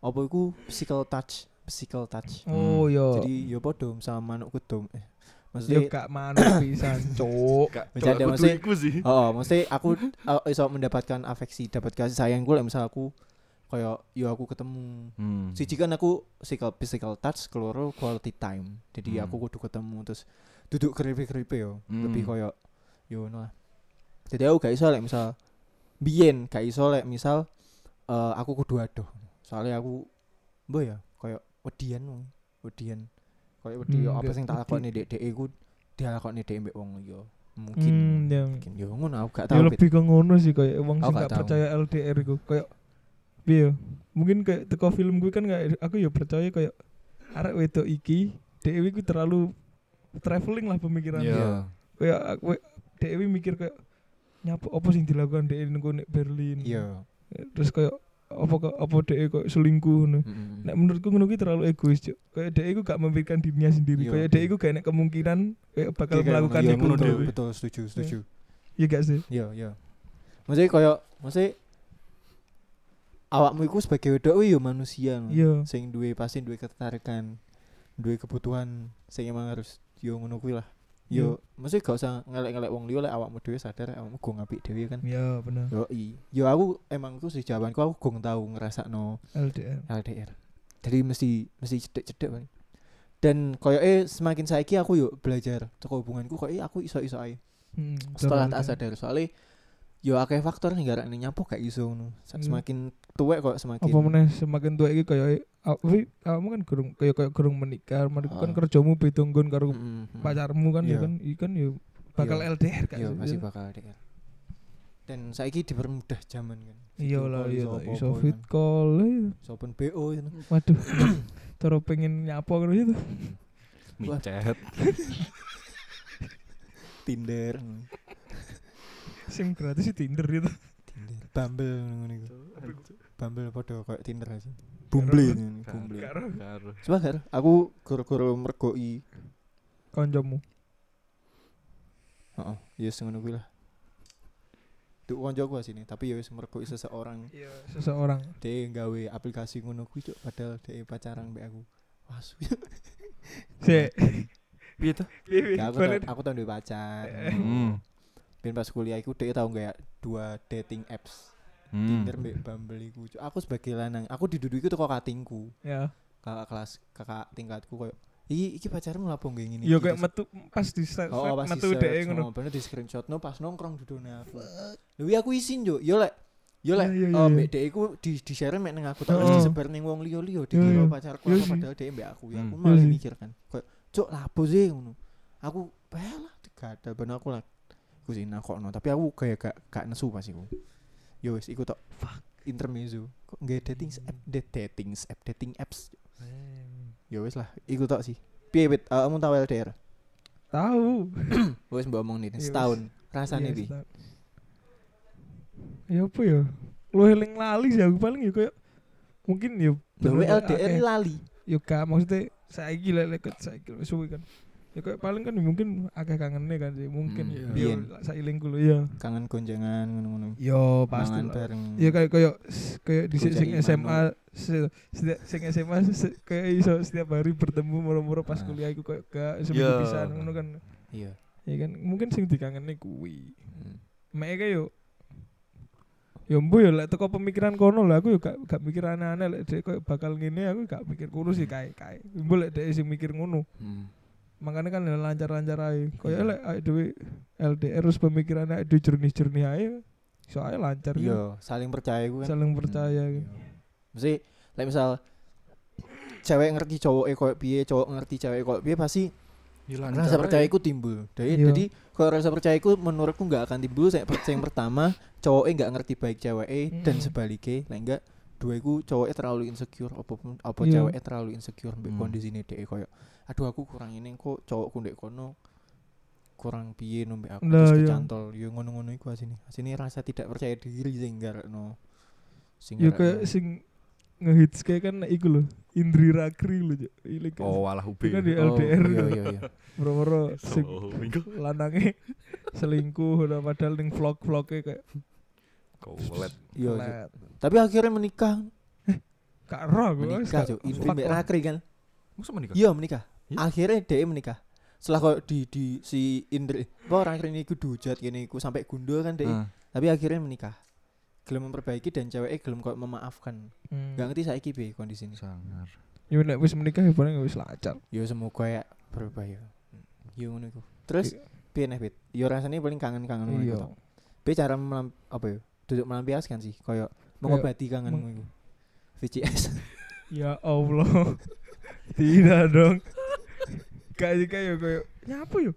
Speaker 2: apa iku physical touch, physical touch.
Speaker 3: Oh
Speaker 2: Hmm.
Speaker 3: yo.
Speaker 2: Jadi yo podo sama manuk kudum. Eh,
Speaker 3: Yo
Speaker 2: maksudnya
Speaker 3: gak manut pisan, cuk.
Speaker 4: Kak,
Speaker 2: Bercanda,
Speaker 4: aku
Speaker 2: maksudnya-
Speaker 4: tuiku sih.
Speaker 2: Oh, oh, maksudnya aku uh, iso mendapatkan afeksi, dapat kasih sayang gue lah misal aku koyo yo aku ketemu.
Speaker 4: Hmm.
Speaker 2: Siji kan aku physical physical touch keloro quality time. Jadi
Speaker 4: Hmm.
Speaker 2: aku kudu ketemu terus duduk keripe-keripe yo,
Speaker 4: Hmm.
Speaker 2: lebih koyo yo ngono lah. Jadi aku gak iso lek misal biyen gak iso lek misal eh, aku kudu aduh. Soalnya aku mbo ya koyo wedian wong, wedian. Koyo wedi yo
Speaker 3: Hmm,
Speaker 2: apa
Speaker 3: gak
Speaker 2: sing tak
Speaker 3: wedi.
Speaker 2: lakoni dek-deke iku dilakoni dek mbek wong liya. Mungkin
Speaker 3: Hmm, ya.
Speaker 2: mungkin yo ngono aku gak
Speaker 3: Ya
Speaker 2: tau. Pit.
Speaker 3: lebih ke ngono sih kayak wong
Speaker 2: Aku
Speaker 3: sing
Speaker 2: gak
Speaker 3: gak
Speaker 2: Oh, tahu.
Speaker 3: percaya LDR iku kayak piye? ya? Mungkin kayak teko film gue kan gak aku ya percaya kayak arek wedok iki dhewe iku terlalu traveling lah pemikirannya.
Speaker 4: Iya.
Speaker 3: Kayak aku dhewe mikir kayak nyapa apa sing dilakukan dhewe niku nek Berlin.
Speaker 2: Iya.
Speaker 3: Terus kayak apa kok apa dhewe kayak selingkuh ngono.
Speaker 2: Mm-mm.
Speaker 3: Nek menurutku ngono ki terlalu egois, Cuk. Kayak dhek iku gak memikirkan dirinya sendiri.
Speaker 2: Iya.
Speaker 3: Kayak dhek iku gak enak kemungkinan kayak bakal
Speaker 2: Iya, kayak
Speaker 3: melakukan
Speaker 2: ngono. Iya,
Speaker 3: iku
Speaker 4: ngono
Speaker 2: betul,
Speaker 4: dhewe.
Speaker 2: Betul, setuju, setuju.
Speaker 3: Iya gak sih?
Speaker 2: Iya, iya. Maksudnya koyo maksudnya awakmu iku sebagai wedok kuwi yo manusia. no.
Speaker 3: Iya.
Speaker 2: Sing duwe pasti duwe ketertarikan, duwe kebutuhan sing emang harus yo ngono kuwi lah. Yo,
Speaker 3: Iya.
Speaker 2: maksudnya gak usah ngelek-ngelek wong liya lek awakmu dhewe sadar awakmu gong apik dhewe kan.
Speaker 3: Iya, bener.
Speaker 2: Yo i. Yo aku emang ku sejawanku aku gong tau ngrasakno
Speaker 3: LDR.
Speaker 2: LDR. Jadi mesti mesti cedek-cedek kan. Dan koyoke semakin saiki aku yo belajar teko hubunganku koyoke aku iso-iso ae.
Speaker 3: Hmm,
Speaker 2: setelah
Speaker 3: bener,
Speaker 2: tak
Speaker 3: bener.
Speaker 2: sadar soalnya yo akeh faktor sing garakne nyapu gak iso ngono Sa-
Speaker 3: Iya.
Speaker 2: semakin tuwek kok semakin
Speaker 3: apa meneh semakin tua iki kaya aku kamu kan gurung kaya kaya gurung menikah, mereka kan
Speaker 2: Ah.
Speaker 3: kerjamu betunggun karo
Speaker 2: Mm, mm, mm.
Speaker 3: pacarmu kan
Speaker 2: Iya.
Speaker 3: ya kan ikan ya bakal
Speaker 2: Iya.
Speaker 3: LDR kan.
Speaker 2: yo pasti bakal LDR dan saiki dipermudah zaman kan
Speaker 3: Iya
Speaker 2: Video
Speaker 3: lah
Speaker 2: call
Speaker 3: iya
Speaker 2: iso
Speaker 3: lah,
Speaker 2: apa-apa,
Speaker 3: iso
Speaker 2: kan.
Speaker 3: fit call. iya.
Speaker 2: Iso open BO gitu.
Speaker 3: Waduh. Cara pengen nyapo kan gitu.
Speaker 4: Micet.
Speaker 2: Tinder
Speaker 3: Sim gratis di Tinder itu.
Speaker 2: Tinder Bumble ngono iku Bumble padha koyo Tinder aja
Speaker 3: Bumble.
Speaker 2: Bumble ngono, Bumble
Speaker 3: Karo
Speaker 4: Karo.
Speaker 2: coba Gar, aku guru-guru mergoi
Speaker 3: kancamu.
Speaker 2: heeh ya yes, ngono kuwi lah Duk konco gua sini, tapi ya wis mergoi seseorang
Speaker 3: Iya, seseorang.
Speaker 2: dia gawe aplikasi ngono kuwi cuk padahal dia pacaran mbek aku asu
Speaker 3: Sik.
Speaker 4: Piye tuh?
Speaker 3: Piye piye,
Speaker 2: ya aku
Speaker 3: balik.
Speaker 2: tau, aku tau duwe pacar
Speaker 4: Hmm.
Speaker 2: ben pas kuliah iku dia tau gak dua dating apps
Speaker 4: Hmm.
Speaker 2: Tinder mbek Bumble iku cuk aku sebagai lanang aku diduduki teko katingku
Speaker 3: Ya.
Speaker 2: kakak kelas kakak tingkatku koyo iki iki pacarmu lapo nggih ngene iki?"
Speaker 3: Yo Iya, kayak
Speaker 2: Terus-
Speaker 3: metu pas di swipe
Speaker 2: Oh, oh, pas
Speaker 3: metu dhek ngono.
Speaker 2: ngono. Bener di screenshot no pas nongkrong di dunia aku. Lewi aku isin yo, yo lek yo lek
Speaker 3: Iya, iya,
Speaker 2: eh,
Speaker 3: iya.
Speaker 2: mbek dhek iku di di share mek nang aku tapi
Speaker 3: Oh.
Speaker 2: disebar ning wong liya liya
Speaker 3: Iya,
Speaker 2: dikira
Speaker 3: iya.
Speaker 2: pacarku
Speaker 3: Iya
Speaker 2: apa
Speaker 3: sih.
Speaker 2: padahal dhek mbek aku ya aku
Speaker 4: Hmm.
Speaker 2: malah
Speaker 3: Iya sih.
Speaker 2: mikir kan. Kayak cuk lapo sih ngono. Aku "Wah, lah digadal ben aku lah. Aku iku sih nakokno, tapi aku kayak gak gak nesu pas iku. Yo wis iku tok. Fuck intermezzo. Kok nggak dating
Speaker 3: Hmm.
Speaker 2: app dat- dating app dating apps. Yo wis lah, iku tok sih. Piye wit, eh, kamu tahu LDR?
Speaker 3: Tahu.
Speaker 2: Wis mbok omong nih
Speaker 3: Yo wis.
Speaker 2: setahun. Rasane
Speaker 3: Iya,
Speaker 2: piye?
Speaker 3: setahun. Ya apa ya? Lu eling lali sih aku paling ya kayak mungkin ya
Speaker 2: Lho
Speaker 3: bener-
Speaker 2: LDR
Speaker 3: akeh-
Speaker 2: lali.
Speaker 3: ya gak maksudnya saiki lah lek saiki wis suwe kan. Ya kayak paling kan mungkin agak kangennya kan sih mungkin
Speaker 4: Hmm,
Speaker 3: ya.
Speaker 2: iya.
Speaker 3: Iya, sailing kulo ya.
Speaker 2: Kangen gonjangan ngono-ngono.
Speaker 3: Yo
Speaker 2: Mangan
Speaker 3: lah.
Speaker 2: bareng.
Speaker 3: Ya kayak kayak kayak di
Speaker 2: Gojek
Speaker 3: sing
Speaker 2: Iman
Speaker 3: SMA se- setiap sing SMA se- kayak iso setiap hari bertemu moro-moro pas
Speaker 2: Ah.
Speaker 3: kuliah iku kayak gak seminggu
Speaker 4: Ya.
Speaker 3: pisan ngono kan.
Speaker 2: Iya.
Speaker 3: Ya kan mungkin sing dikangeni kuwi.
Speaker 2: Hmm.
Speaker 3: Mek yo yo mbu yo lek teko pemikiran kono lah aku yo gak gak mikir aneh-aneh lek dhek koyo bakal ngene aku gak mikir kudu sih kae kae. Mbu lek dhek sing mikir ngono.
Speaker 4: Hmm.
Speaker 3: Makanya kan lancar-lancar ae. Koyo lek awake dhewe LDR terus pemikiran awake dhewe jernih-jernih ae. Soalnya lancar
Speaker 2: Iya,
Speaker 3: gitu.
Speaker 2: saling percaya iku kan. Hmm.
Speaker 3: Saling percaya gitu.
Speaker 2: Mesti like misal cewek ngerti cowok e koyo piye, cowok ngerti cewek koyo piye pasti
Speaker 4: Kan
Speaker 2: rasa
Speaker 4: ya.
Speaker 2: percaya iku timbul. Jadi
Speaker 3: Iya.
Speaker 2: jadi kalau rasa percaya iku menurutku nggak akan timbul sing yang pertama cowok e nggak ngerti baik cewek e dan
Speaker 3: Mm-mm.
Speaker 2: sebaliknya lek enggak dua iku cowok e terlalu insecure apa apa
Speaker 3: Iya.
Speaker 2: cewek e terlalu insecure mbek
Speaker 4: Hmm.
Speaker 2: kondisine dhek e koyo aduh aku kurang ini kok cowokku ndek kono kurang piye no mbek aku
Speaker 3: Lah,
Speaker 2: terus
Speaker 3: iya.
Speaker 2: kecantol yo ngono-ngono iku asine asine rasa tidak percaya diri sing garekno sing
Speaker 3: Ya
Speaker 2: garekno.
Speaker 3: kayak sing ngehits kayak kan iku lho, Indri Rakri lho. Cuk. Ilik kan.
Speaker 4: Oh, walah
Speaker 3: Itu
Speaker 4: ubi.
Speaker 3: kan di
Speaker 2: Oh,
Speaker 3: LDR
Speaker 2: iya,
Speaker 3: kan.
Speaker 2: iya, iya.
Speaker 3: Moro-moro sing
Speaker 4: Oh, minggu.
Speaker 3: lanange selingkuh udah padahal ning e vlog-vlognya kayak
Speaker 4: Kolet.
Speaker 2: Iya, iya.
Speaker 3: kelet.
Speaker 2: Tapi akhirnya menikah,
Speaker 3: Gak roh gue.
Speaker 2: menikah Cuk. Indri
Speaker 3: fuck
Speaker 2: Mbak
Speaker 3: lah.
Speaker 2: Rakri kan.
Speaker 4: Masa menikah?
Speaker 2: Iya, menikah.
Speaker 4: Iya.
Speaker 2: Akhirnya dia menikah. Setelah kok di di si Indri, wah orang ini ku dujat gini ku sampai gundul kan dia.
Speaker 4: Ah.
Speaker 2: Tapi akhirnya menikah. Gelem memperbaiki dan ceweknya gelem kok memaafkan. Gak ngerti saiki piye kondisinya.
Speaker 4: Sangar.
Speaker 3: Ya nek Hmm. wis menikah ya paling wis lancar.
Speaker 2: Yo semoga ya berubah ya. Yo ngono iku. Terus piye nih Fit? Yo rasanya paling kangen-kangen ngono iku
Speaker 3: Iya.
Speaker 2: toh. Piye cara melam, apa ya? Duduk melampiaskan sih, koyo mengobati kangenmu iku. VCS.
Speaker 3: Ya Allah. Tidak dong. Kayak kayak kayak ya apa yo?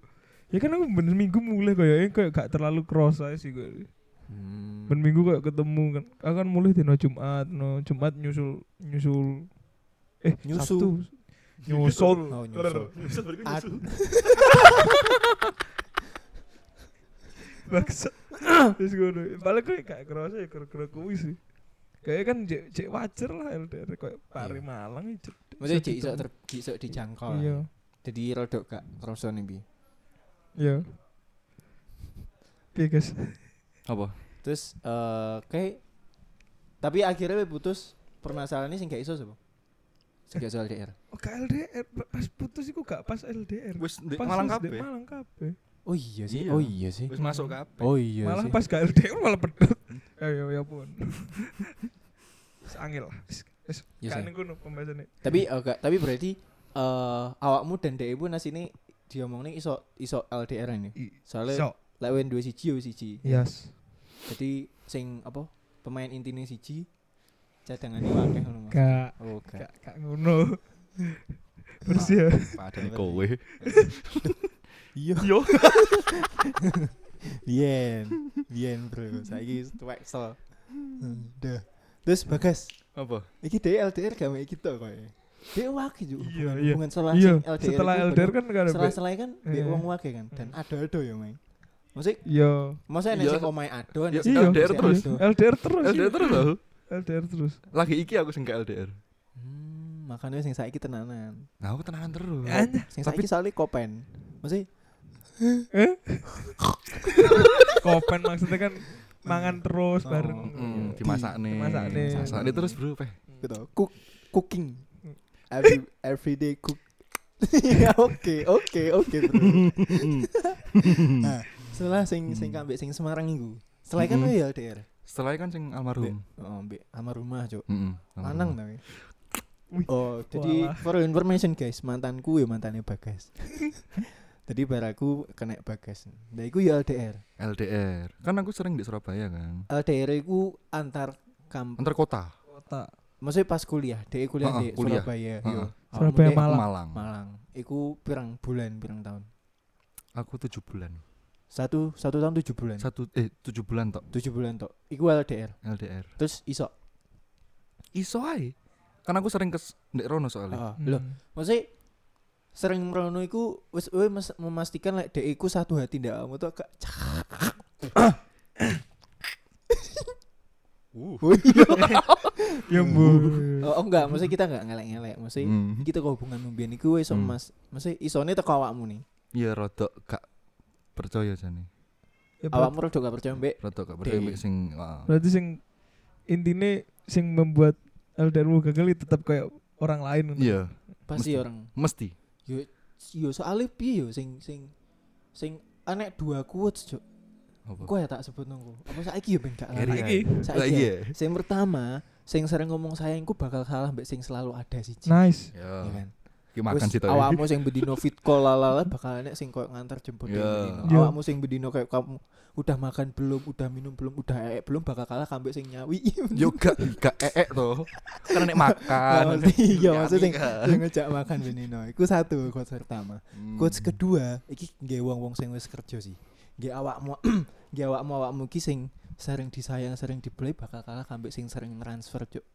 Speaker 3: Ya kan aku bener minggu mulai kayak kayak gak terlalu cross aja sih gue.
Speaker 4: Hmm.
Speaker 3: Ben minggu kayak ketemu kan. Aku kan mulai dino Jumat, no Jumat nyusul nyusul eh
Speaker 2: Nyusul.
Speaker 3: Sabtu. Nyusul.
Speaker 2: Oh, nyusul. Ad-
Speaker 3: Baksa. Terus gue Paling kayak gak kerasa ya kira-kira kuwi sih. Kayaknya kan cek cek wajar lah ya, LDR kayak pari
Speaker 2: Iya.
Speaker 3: malang ya, cek.
Speaker 2: Maksudnya
Speaker 3: Sedih
Speaker 2: cek iso
Speaker 3: banget.
Speaker 2: ter cek iso dijangkau. lah.
Speaker 3: Iya.
Speaker 2: Jadi rodok gak kerasa nih bi.
Speaker 3: Iya. Oke guys.
Speaker 4: Apa?
Speaker 2: Terus eh kayak tapi akhirnya we putus permasalahannya sing gak iso sapa? Sing gak iso LDR.
Speaker 3: Oh, gak LDR pas putus iku gak pas LDR.
Speaker 4: Wis ndek
Speaker 3: Pas
Speaker 4: Malang
Speaker 3: wis ndek
Speaker 4: kabeh.
Speaker 3: Malang kabeh.
Speaker 2: Oh iya sih.
Speaker 4: Iya.
Speaker 2: Oh iya sih.
Speaker 4: Wis masuk kabeh.
Speaker 2: Oh iya
Speaker 3: malah
Speaker 2: sih.
Speaker 3: pas gak LDR malah pedut. Ya ya ya pun. Wis Angel lah. Wis- Wis
Speaker 2: Iya, say.
Speaker 3: gak ning kono pembahasannya.
Speaker 2: Tapi eh, gak- tapi berarti eh awakmu dan dhek pun asine diomongne iso iso LDR ini. Soalnya
Speaker 3: So,
Speaker 2: lek wen duwe siji yo siji.
Speaker 3: yes.
Speaker 2: Jadi sing apa pemain intine siji cadangane akeh ngono. Mas.
Speaker 3: Gak
Speaker 2: Oh, gak.
Speaker 3: gak gak ngono. Terus ya.
Speaker 4: Padane kowe.
Speaker 2: Iya.
Speaker 4: Yo.
Speaker 2: Bien, bien bro. Saiki weksel. Dah. Terus Bagas,
Speaker 4: Apa?
Speaker 2: iki dhek LDR gak mek kita koe. Dhek wake juga
Speaker 3: Iya,
Speaker 2: hubungan-
Speaker 3: iya.
Speaker 2: hubungan setelah
Speaker 3: Iya,
Speaker 2: sing oh, LDR.
Speaker 3: setelah
Speaker 2: iku
Speaker 3: LDR
Speaker 2: bener-
Speaker 3: kan gak ada. be-
Speaker 2: setelah-setelah kan dhek
Speaker 3: Iya.
Speaker 2: wong wake kan dan ado-ado ya, Mai. Maksudnya
Speaker 3: Iya.
Speaker 2: Masa enek
Speaker 4: Iya.
Speaker 2: sing omahe ado, enek
Speaker 4: Iya,
Speaker 2: sing
Speaker 3: iya.
Speaker 4: LDR
Speaker 2: sing
Speaker 4: terus.
Speaker 2: ado.
Speaker 3: LDR terus.
Speaker 4: LDR terus aku.
Speaker 3: LDR terus.
Speaker 4: Lagi iki aku sing gak LDR.
Speaker 2: Hmm, makanya sing saiki tenanan.
Speaker 4: Nah, aku tenanan terus.
Speaker 2: Sing saiki soalnya kopen. Maksudnya
Speaker 3: Kopen maksudnya kan mangan terus
Speaker 2: Oh,
Speaker 3: bareng.
Speaker 4: Hmm,
Speaker 2: Di-
Speaker 4: dimasakne.
Speaker 3: Iya. dimasakne. Iya.
Speaker 4: Dimasakne terus, Bro, peh.
Speaker 2: gitu cook cooking every everyday cook Ya, oke oke oke bro nah, setelah sing sing
Speaker 3: Hmm.
Speaker 2: kambek sing Semarang iku setelah kan
Speaker 4: Mm-mm.
Speaker 2: ya LDR
Speaker 4: Setelah kan sing almarhum.
Speaker 2: oh mbek sama rumah
Speaker 3: Iya.
Speaker 2: cuk
Speaker 4: Heeh.
Speaker 2: lanang tapi
Speaker 3: Wih,
Speaker 2: oh jadi
Speaker 3: walah.
Speaker 2: for information guys mantanku ya mantannya bagas jadi baraku kena bagas nah iku ya LDR
Speaker 4: LDR. Kan aku sering di Surabaya kan.
Speaker 2: LDR Eh, iku antar kamp
Speaker 4: Antar kota.
Speaker 3: Kota.
Speaker 2: maksudnya pas kuliah dek kuliah
Speaker 4: Ha-ha,
Speaker 2: di
Speaker 4: kuliah.
Speaker 2: Surabaya iya.
Speaker 4: Ha-ha.
Speaker 2: yo
Speaker 3: Surabaya,
Speaker 2: Awakmu dek
Speaker 3: Malang.
Speaker 4: Malang.
Speaker 2: Malang iku pirang bulan pirang tahun
Speaker 4: Aku tujuh bulan.
Speaker 2: Satu satu tahun tujuh bulan.
Speaker 4: Satu eh tujuh bulan tok
Speaker 2: Tujuh bulan tok. Iku LDR.
Speaker 4: LDR.
Speaker 2: Terus iso.
Speaker 4: Iso ae. Karena aku sering kes ndek rono
Speaker 3: Oh,
Speaker 4: soalnya.
Speaker 3: Hmm.
Speaker 2: Heeh. Loh, maksudnya sering merono iku wis we mes- memastikan lek dhek iku satu hati ndak kamu tuh agak cak.
Speaker 4: Uh.
Speaker 2: Oh iya.
Speaker 3: ya bu
Speaker 2: Oh, oh, enggak, maksudnya kita enggak ngelek-ngelek, maksudnya
Speaker 4: Hmm.
Speaker 2: kita ke hubungan mbiyen iku wis iso
Speaker 4: Hmm.
Speaker 2: mas. Maksudnya isone teko awakmu nih.
Speaker 4: Iya rodok gak percaya jane.
Speaker 2: Awakmu rada gak percaya mbek
Speaker 4: Rodok gak percaya
Speaker 2: Dek.
Speaker 4: mek sing ah.
Speaker 3: Ya, berarti sing intine sing membuat LDR gagal itu tetap kayak orang lain ngono.
Speaker 4: Iya,
Speaker 2: pasti
Speaker 4: Mesti.
Speaker 2: orang.
Speaker 4: mesti.
Speaker 2: Yo yo soalnya piye yo sing sing sing anek dua quotes, Cuk.
Speaker 4: Apa? ya?
Speaker 2: Kok ya tak sebut nunggu. Apa saiki yo ben gak
Speaker 4: Eri
Speaker 2: lali.
Speaker 3: Saiki.
Speaker 4: ae. Saiki.
Speaker 2: Saiki. ya.
Speaker 4: ae.
Speaker 3: Iya.
Speaker 2: Sing pertama, sing sering ngomong sayangku bakal kalah mbek sing selalu ada siji.
Speaker 3: nice
Speaker 4: Ya.
Speaker 2: Iya kan?
Speaker 4: Ki makan
Speaker 2: Wes,
Speaker 4: sih ya. tadi.
Speaker 2: Awakmu sing bedino fit call lalala bakal enek sing koyo ngantar jemput
Speaker 4: Iya.
Speaker 2: yeah. bedino.
Speaker 3: Iya.
Speaker 2: Awakmu sing bedino kayak kamu udah makan belum, udah minum belum, udah eek belum bakal kalah kambe sing nyawi.
Speaker 4: Yo gak gak eek to. Karena nek makan.
Speaker 2: Nggak ngerti. Iya, maksudnya sing
Speaker 4: Nggak.
Speaker 2: sing ngejak makan bedino. Iku satu quotes pertama.
Speaker 4: Hmm.
Speaker 2: Quotes kedua, iki nggih wong-wong sing wis kerja sih. Nggih awakmu nggih awakmu awakmu ki sing sering disayang, sering dibeli bakal kalah kambe sing sering transfer, Cuk.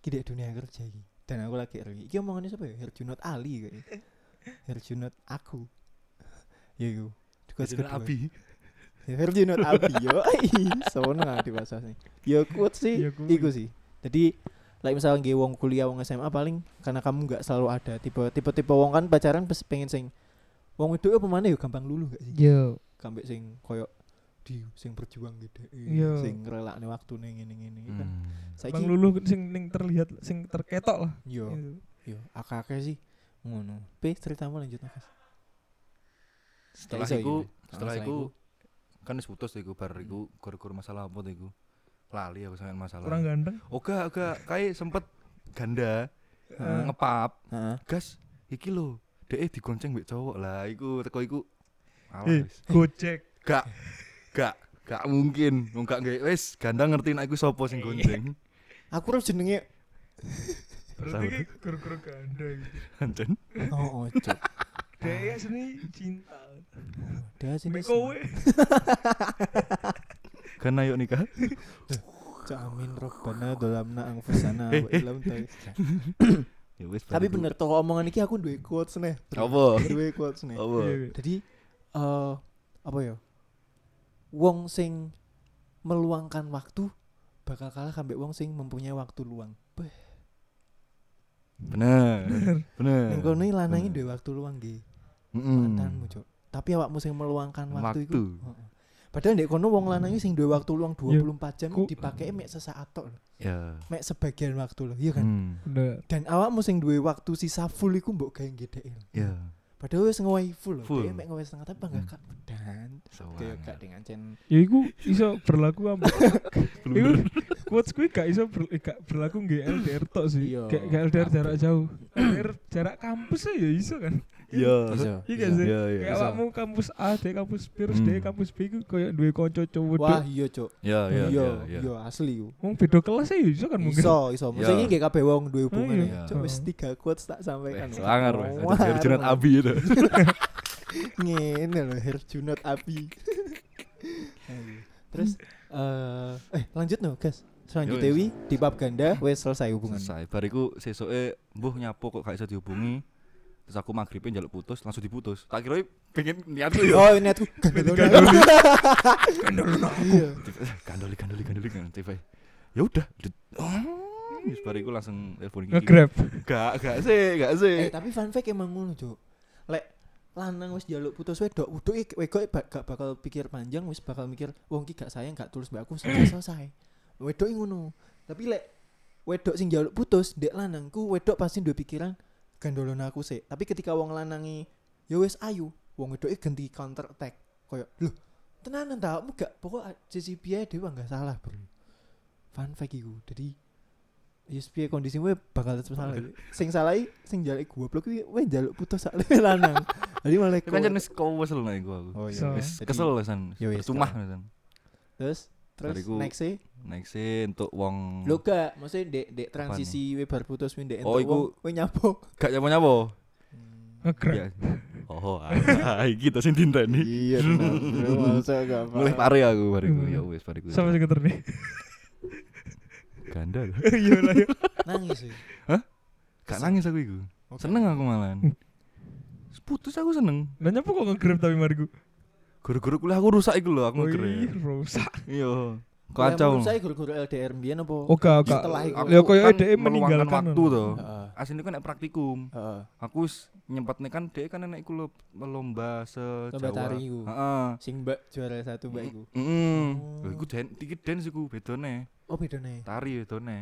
Speaker 2: Iki dek dunia kerja iki. Dan aku lagi RI. Iki omongannya siapa ya? Herjunot Ali kayaknya. Herjunot aku. Ya iku. Quotes
Speaker 4: Jadi
Speaker 2: kedua.
Speaker 4: api.
Speaker 2: Ya, Virgin Note Abi yo. Ih, Sono nggak dibahas nih. Yo kuat
Speaker 3: Ya,
Speaker 2: sih.
Speaker 3: kuat.
Speaker 2: Iku sih. Jadi like misalnya nggih wong kuliah wong SMA paling karena kamu nggak selalu ada tipe tipe tipe wong kan pacaran pasti pengen sing wong itu apa mana yo gampang lulu gak sih
Speaker 3: yo
Speaker 2: Kambek sing koyo di sing berjuang gitu
Speaker 3: Yo.
Speaker 2: sing ngerelak nih waktu nih ini ini kan
Speaker 4: Hmm.
Speaker 2: saya
Speaker 3: Iya. bang lulu sing ning terlihat sing terketok lah
Speaker 2: yo
Speaker 3: Gitu.
Speaker 4: Iya.
Speaker 2: yo akak sih ngono p ceritamu lanjut Nafas.
Speaker 4: Setelah
Speaker 2: Iso,
Speaker 4: iku,
Speaker 2: iya.
Speaker 4: setelah
Speaker 2: Setelah
Speaker 4: iku kan wis putus iku bar iku gara-gara masalah apa tuh iku. Lali aku sampean masalah. Oh,
Speaker 3: kurang ganteng
Speaker 4: Oke, oke, kayak sempet ganda
Speaker 3: Eh,
Speaker 4: ngepap
Speaker 2: Heeh.
Speaker 4: gas iki lho deh digonceng mbek cowok lah iku teko iku Alah,
Speaker 3: eh,
Speaker 4: wis.
Speaker 3: gojek
Speaker 4: gak gak gak mungkin wong gak nge- wis ganda ngerti nek iku sapa sing gonceng
Speaker 2: aku harus jenenge
Speaker 3: berarti ki guru-guru ganda gitu
Speaker 4: Anjen.
Speaker 2: oh oh cok
Speaker 3: dia sini cinta
Speaker 2: dia sini
Speaker 3: Mbak kowe
Speaker 4: kan ayo nikah
Speaker 2: Amin robbana dolamna angfusana wa illam tay-
Speaker 4: ya wis bar
Speaker 2: Tapi
Speaker 4: iku.
Speaker 2: bener toko omongan iki aku duwe quotes nih.
Speaker 4: apa
Speaker 2: Duwe quotes nih.
Speaker 4: apa
Speaker 3: Iya, iya.
Speaker 2: Jadi eh apa ya? Wong sing meluangkan waktu bakal kalah kambek wong sing mempunyai waktu luang. Beh,
Speaker 4: bener bener
Speaker 2: ning kono iki lanange
Speaker 4: bener.
Speaker 2: duwe waktu luang nggih.
Speaker 4: Mm-mm.
Speaker 2: Mantanmu, Cuk. Tapi awakmu sing meluangkan waktu,
Speaker 4: Hmm. Waktu.
Speaker 2: iku. Heeh. Padahal nek kono wong lanang iki sing duwe waktu luang 24 jam
Speaker 3: Ku-
Speaker 2: dipakai mek sesaat tok, lho.
Speaker 4: ya
Speaker 2: mek sebagian waktu lho. Iya kan?
Speaker 4: Hmm.
Speaker 3: bener
Speaker 2: Dan awakmu sing duwe waktu sisa full iku mbok gawe gedhe.
Speaker 4: ya
Speaker 2: Padahal wis ngowahi full loh.
Speaker 4: Full.
Speaker 2: Dia mek ngowahi setengah tapi bangga
Speaker 4: Hmm.
Speaker 2: kak dan kayak
Speaker 4: Sewangan.
Speaker 2: kak dengan cen.
Speaker 3: ya iku iso berlaku ambek
Speaker 4: Bener.
Speaker 3: Iku quotes kuwi gak iso ber, gak berlaku nggih LDR tok sih.
Speaker 2: Iya.
Speaker 3: Gak gak LDR jarak
Speaker 2: Kampus.
Speaker 3: jauh. LDR jarak kampus aja ya iso kan.
Speaker 4: Iya.
Speaker 3: Iya gak sih?
Speaker 4: Iya, iya.
Speaker 3: Kayak
Speaker 2: Iso.
Speaker 3: awakmu kampus A, D kampus B, terus
Speaker 4: Hmm.
Speaker 3: D kampus B iku koyo duwe kanca
Speaker 2: Wah
Speaker 3: cowok.
Speaker 2: iya cok.
Speaker 4: ya ya
Speaker 2: iya
Speaker 4: ya
Speaker 2: iya asli yo.
Speaker 3: Wong beda kelas aja ya iso kan mungkin.
Speaker 2: Iso iso.
Speaker 4: Iya.
Speaker 2: Masa ini gak kabeh wong duwe hubungan
Speaker 4: iya.
Speaker 2: ya. Cok wis tiga quotes tak sampaikan.
Speaker 4: Selangar, wes. Ada
Speaker 2: Wah,
Speaker 4: Herjunot Abi itu.
Speaker 2: Ngene lho Herjunot Abi. Ayo. Terus eh eh lanjut no guys. Selanjutnya
Speaker 4: Yo,
Speaker 2: wi di bab ganda wes selesai hubungan.
Speaker 4: Selesai. Bariku sesoke mbuh nyapo kok gak iso dihubungi. Terus aku magribin njaluk putus, langsung diputus. Tak kira pengen niatku ya.
Speaker 2: Oh ini aku gandol aku. Iya.
Speaker 4: Eh, Gandoli gandoli gandoli gandoli TV. Ya udah. Dut. Oh, Wis bariku langsung telepon iki.
Speaker 3: Nge-grab.
Speaker 4: Gak gak sih, gak sih.
Speaker 2: Eh tapi fun fact emang ngono, Cuk. Lek lanang wis njaluk putus wedok, wedok iki wedok iki ba- gak bakal pikir panjang, wis bakal mikir wong ki gak sayang gak tulus mbak aku selesai selesai. Wedok iki ngono. Tapi lek wedok sing njaluk putus, ndek lanangku wedok pasti duwe pikiran gandolan aku sih. Tapi ketika wong lanangi ya wis ayu, wong wedok iki ganti counter attack. Koyo lho, tenanan ta, mu gak pokok sisi piye dhewe gak salah, Bro. Fun fact iku. Jadi Yes, piye kondisi gue bakal tetep salah. sing salah i- sing jaluk gue blok gue jaluk putus sak lewe lanang. Jadi malah
Speaker 4: Kan
Speaker 2: kowe-
Speaker 4: jan wis kesel nek iku aku.
Speaker 2: Oh
Speaker 3: So.
Speaker 2: iya.
Speaker 4: Wis
Speaker 2: Jadi-
Speaker 4: kesel lesan.
Speaker 2: Ya wis,
Speaker 4: Cuma
Speaker 2: tau.
Speaker 4: lesan.
Speaker 2: Terus terus
Speaker 4: Bariku-
Speaker 2: next e
Speaker 4: Next sih untuk wong
Speaker 2: lo gak maksudnya dek dek transisi we bar putus we dek
Speaker 4: Oh,
Speaker 2: entuk
Speaker 4: iku-
Speaker 2: wong, we nyapok.
Speaker 4: gak nyapo-nyapo.
Speaker 3: ngegrek.
Speaker 4: Ya. Oh, ah, iki to sing dinteni.
Speaker 2: iya benar Bro, masa gak paham.
Speaker 4: Mulih pare aku bariku.
Speaker 2: Hmm.
Speaker 3: Iya.
Speaker 4: Ya wis bariku.
Speaker 3: Sampai sekitar nih.
Speaker 4: Ganda. lho.
Speaker 3: Iya lah ya.
Speaker 2: nangis sih
Speaker 4: Gak nangis aku iku. Seneng aku
Speaker 2: Hmm.
Speaker 4: malahan. Putus aku seneng.
Speaker 3: Lah nyapa kok ngegrek tapi mariku.
Speaker 4: Guru-guru kuliah aku rusak iku lho, aku
Speaker 3: Wih,
Speaker 4: ngegrek.
Speaker 3: rusak.
Speaker 4: Iya.
Speaker 2: Ya,
Speaker 4: Kacau.
Speaker 2: Oh,
Speaker 4: Oh,
Speaker 2: menurut saya guru-guru LDR mbiyen apa
Speaker 3: Oke, oke.
Speaker 2: Setelah iku.
Speaker 3: Ya koyo
Speaker 4: kan
Speaker 3: dhek
Speaker 4: meluangkan
Speaker 3: meninggalkan
Speaker 4: waktu
Speaker 3: ngono.
Speaker 4: to.
Speaker 2: Heeh,
Speaker 4: Aslinya kan nek praktikum.
Speaker 2: heeh.
Speaker 4: Aku wis nyempet nih kan dhek kan nek iku lho lomba se
Speaker 2: Lomba
Speaker 4: Jawa.
Speaker 2: tari iku.
Speaker 4: ah. Heeh.
Speaker 2: sing mbak juara satu
Speaker 4: Hmm.
Speaker 2: mbak iku
Speaker 4: Heeh.
Speaker 2: Oh.
Speaker 4: Iku dan iki dance iku bedone.
Speaker 2: oh bedane
Speaker 4: Tari bedone.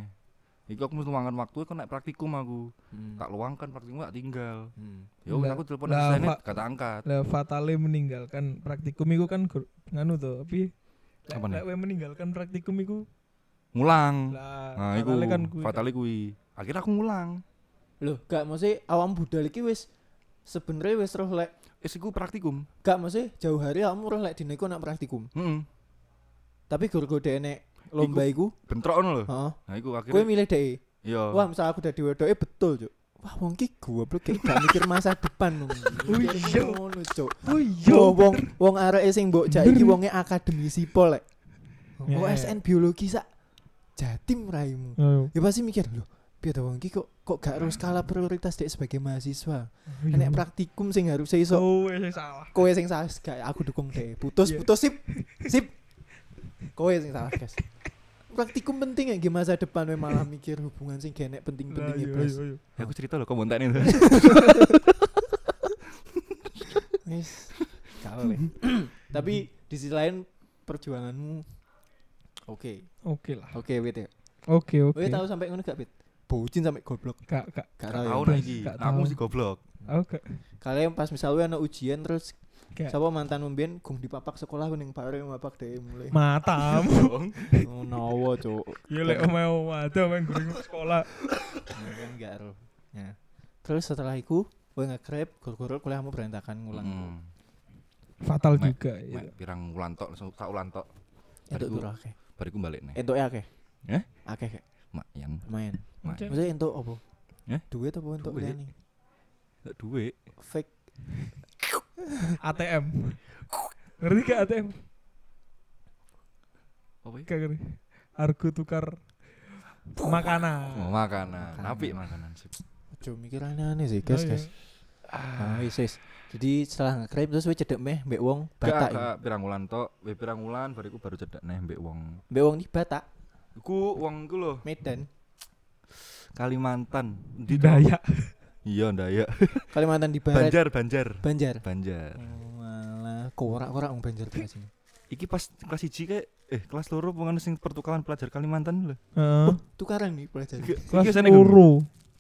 Speaker 4: Iku aku mesti luangkan waktu kan nek praktikum aku.
Speaker 2: Hmm.
Speaker 4: Tak luangkan praktikum tak tinggal.
Speaker 2: Hmm.
Speaker 4: Ya wis
Speaker 3: Lah-
Speaker 4: aku telepon
Speaker 3: lah,
Speaker 4: aslinya
Speaker 3: Pak.
Speaker 4: gak tak angkat.
Speaker 3: Lah fatale meninggalkan praktikum iku kan gur- nganu to, ya? tapi
Speaker 4: Apa nih?
Speaker 3: lek kowe meninggalkan praktikum iku
Speaker 4: Ngulang.
Speaker 3: lah
Speaker 4: Nah, iku
Speaker 3: fatale kan kuwi.
Speaker 4: fatale kuwi. Akhirnya aku ngulang.
Speaker 2: Loh, gak mesti awam budal iki wis sebenarnya wis roh lek
Speaker 4: Wis Eh, iku praktikum.
Speaker 2: gak mesti jauh hari awakmu roh lek dine iku nak praktikum.
Speaker 4: Heeh.
Speaker 2: Tapi guru-guru dhek nek lomba iku, Oh.
Speaker 4: Bentrokno lho.
Speaker 2: heeh.
Speaker 4: Nah iku
Speaker 2: Kowe
Speaker 4: akhirnya
Speaker 2: milih dhek. e?
Speaker 4: iya.
Speaker 2: Wah, misal aku dadi wedoke betul, Cuk. Wah, wong ki goblok kayak gak mikir masa depan wong.
Speaker 3: Wih, iya.
Speaker 2: ngono, Cuk.
Speaker 3: Oh
Speaker 2: Yo
Speaker 3: iya.
Speaker 2: wong wong areke sing mbok jak iki wonge akademisi pol lek.
Speaker 3: Ya, ya.
Speaker 2: OSN biologi sak jatim raimu.
Speaker 3: Ayo.
Speaker 2: Ya pasti mikir loh, piye to wong ki kok kok gak harus skala prioritas dek sebagai mahasiswa.
Speaker 3: Iya.
Speaker 2: Nek praktikum sing harus iso
Speaker 3: Oh, eh, salah.
Speaker 2: kowe sing salah guys aku dukung deh putus
Speaker 3: Iya.
Speaker 2: putus sip sip kowe sing salah guys praktikum penting ya nggih masa depan we malah mikir hubungan sing genek
Speaker 3: Nah,
Speaker 2: penting-penting
Speaker 3: iya,
Speaker 2: ya blas
Speaker 3: iya, iya.
Speaker 4: Ya, aku cerita loh kok bonten itu.
Speaker 3: Ah,
Speaker 2: wis gak oleh tapi di sisi lain perjuanganmu oke
Speaker 3: Oke lah.
Speaker 2: oke wit ya
Speaker 3: Oke, oke.
Speaker 2: kowe tau sampai ngono gak wit bocin sampai goblok
Speaker 3: Kak, kak.
Speaker 2: gak
Speaker 4: Gak
Speaker 2: tau
Speaker 4: tau
Speaker 2: ya.
Speaker 4: nih iki.
Speaker 3: iya, Gak
Speaker 4: Nah, Aku
Speaker 3: tau.
Speaker 4: mesti goblok.
Speaker 3: Oke.
Speaker 2: kalian pas misalnya ana ujian terus
Speaker 3: Kayak-
Speaker 2: siapa mantan mbien gum dipapak sekolah ning pare mapak deh mulai
Speaker 3: Matamu.
Speaker 2: ngono cuk
Speaker 4: Iya,
Speaker 3: Ya lek omeo wadah main guru sekolah.
Speaker 4: kan?
Speaker 2: Mungkin gak ero. Ya. Terus setelah itu gue nge-grab guru-guru kuliahmu berantakan ngulang.
Speaker 4: Hmm.
Speaker 3: Fatal
Speaker 4: Mek,
Speaker 3: juga ya.
Speaker 4: Mek, pirang ulan tok, langsung tak ulan tok.
Speaker 2: Entuk
Speaker 4: Bariku-
Speaker 2: turu akeh.
Speaker 4: Bariku balik nih.
Speaker 2: Entuke akeh.
Speaker 4: Eh?
Speaker 2: Akeh kek,
Speaker 4: Mak yang
Speaker 2: lumayan.
Speaker 4: mak
Speaker 3: Oke.
Speaker 2: Maksudnya entuk apa?
Speaker 4: Eh?
Speaker 2: Duit apa entuk
Speaker 4: Duit.
Speaker 2: liyane?
Speaker 4: tak duit.
Speaker 2: Fake.
Speaker 3: ATM. Ngerti gak ATM?
Speaker 4: Apa ya?
Speaker 3: Gak ngerti. Argo tukar makanan.
Speaker 4: Mau Ah, makanan, apik makanan sip.
Speaker 2: Ojo mikir aneh-aneh sih, guys,
Speaker 4: Oh,
Speaker 3: Iya,
Speaker 2: guys. Ah, wis wis. Jadi setelah nge-grab terus gue cedek meh mbek wong
Speaker 4: Gak, gak,
Speaker 2: Batak. iku.
Speaker 4: pirang ulan tok, we pirang ulan bariku baru cedak nih mbek wong.
Speaker 2: Mbek wong iki Batak,
Speaker 4: Ku wong ku lho,
Speaker 2: Medan,
Speaker 4: Kalimantan. Ndi
Speaker 3: Di
Speaker 4: tok?
Speaker 3: daya.
Speaker 4: Iya, Ndaya.
Speaker 2: Kalimantan di barat.
Speaker 4: Banjar, Banjar.
Speaker 2: Banjar.
Speaker 4: Banjar.
Speaker 2: Malah korak-korak wong Banjar biasa.
Speaker 4: Iki pas kelas 1 kayak eh kelas loro pengen sing pertukaran pelajar Kalimantan lho.
Speaker 3: Heeh.
Speaker 2: Tukaran nih pelajaran.
Speaker 4: Iki-
Speaker 3: Kelas
Speaker 4: iki wis enek, Gem?
Speaker 3: loro.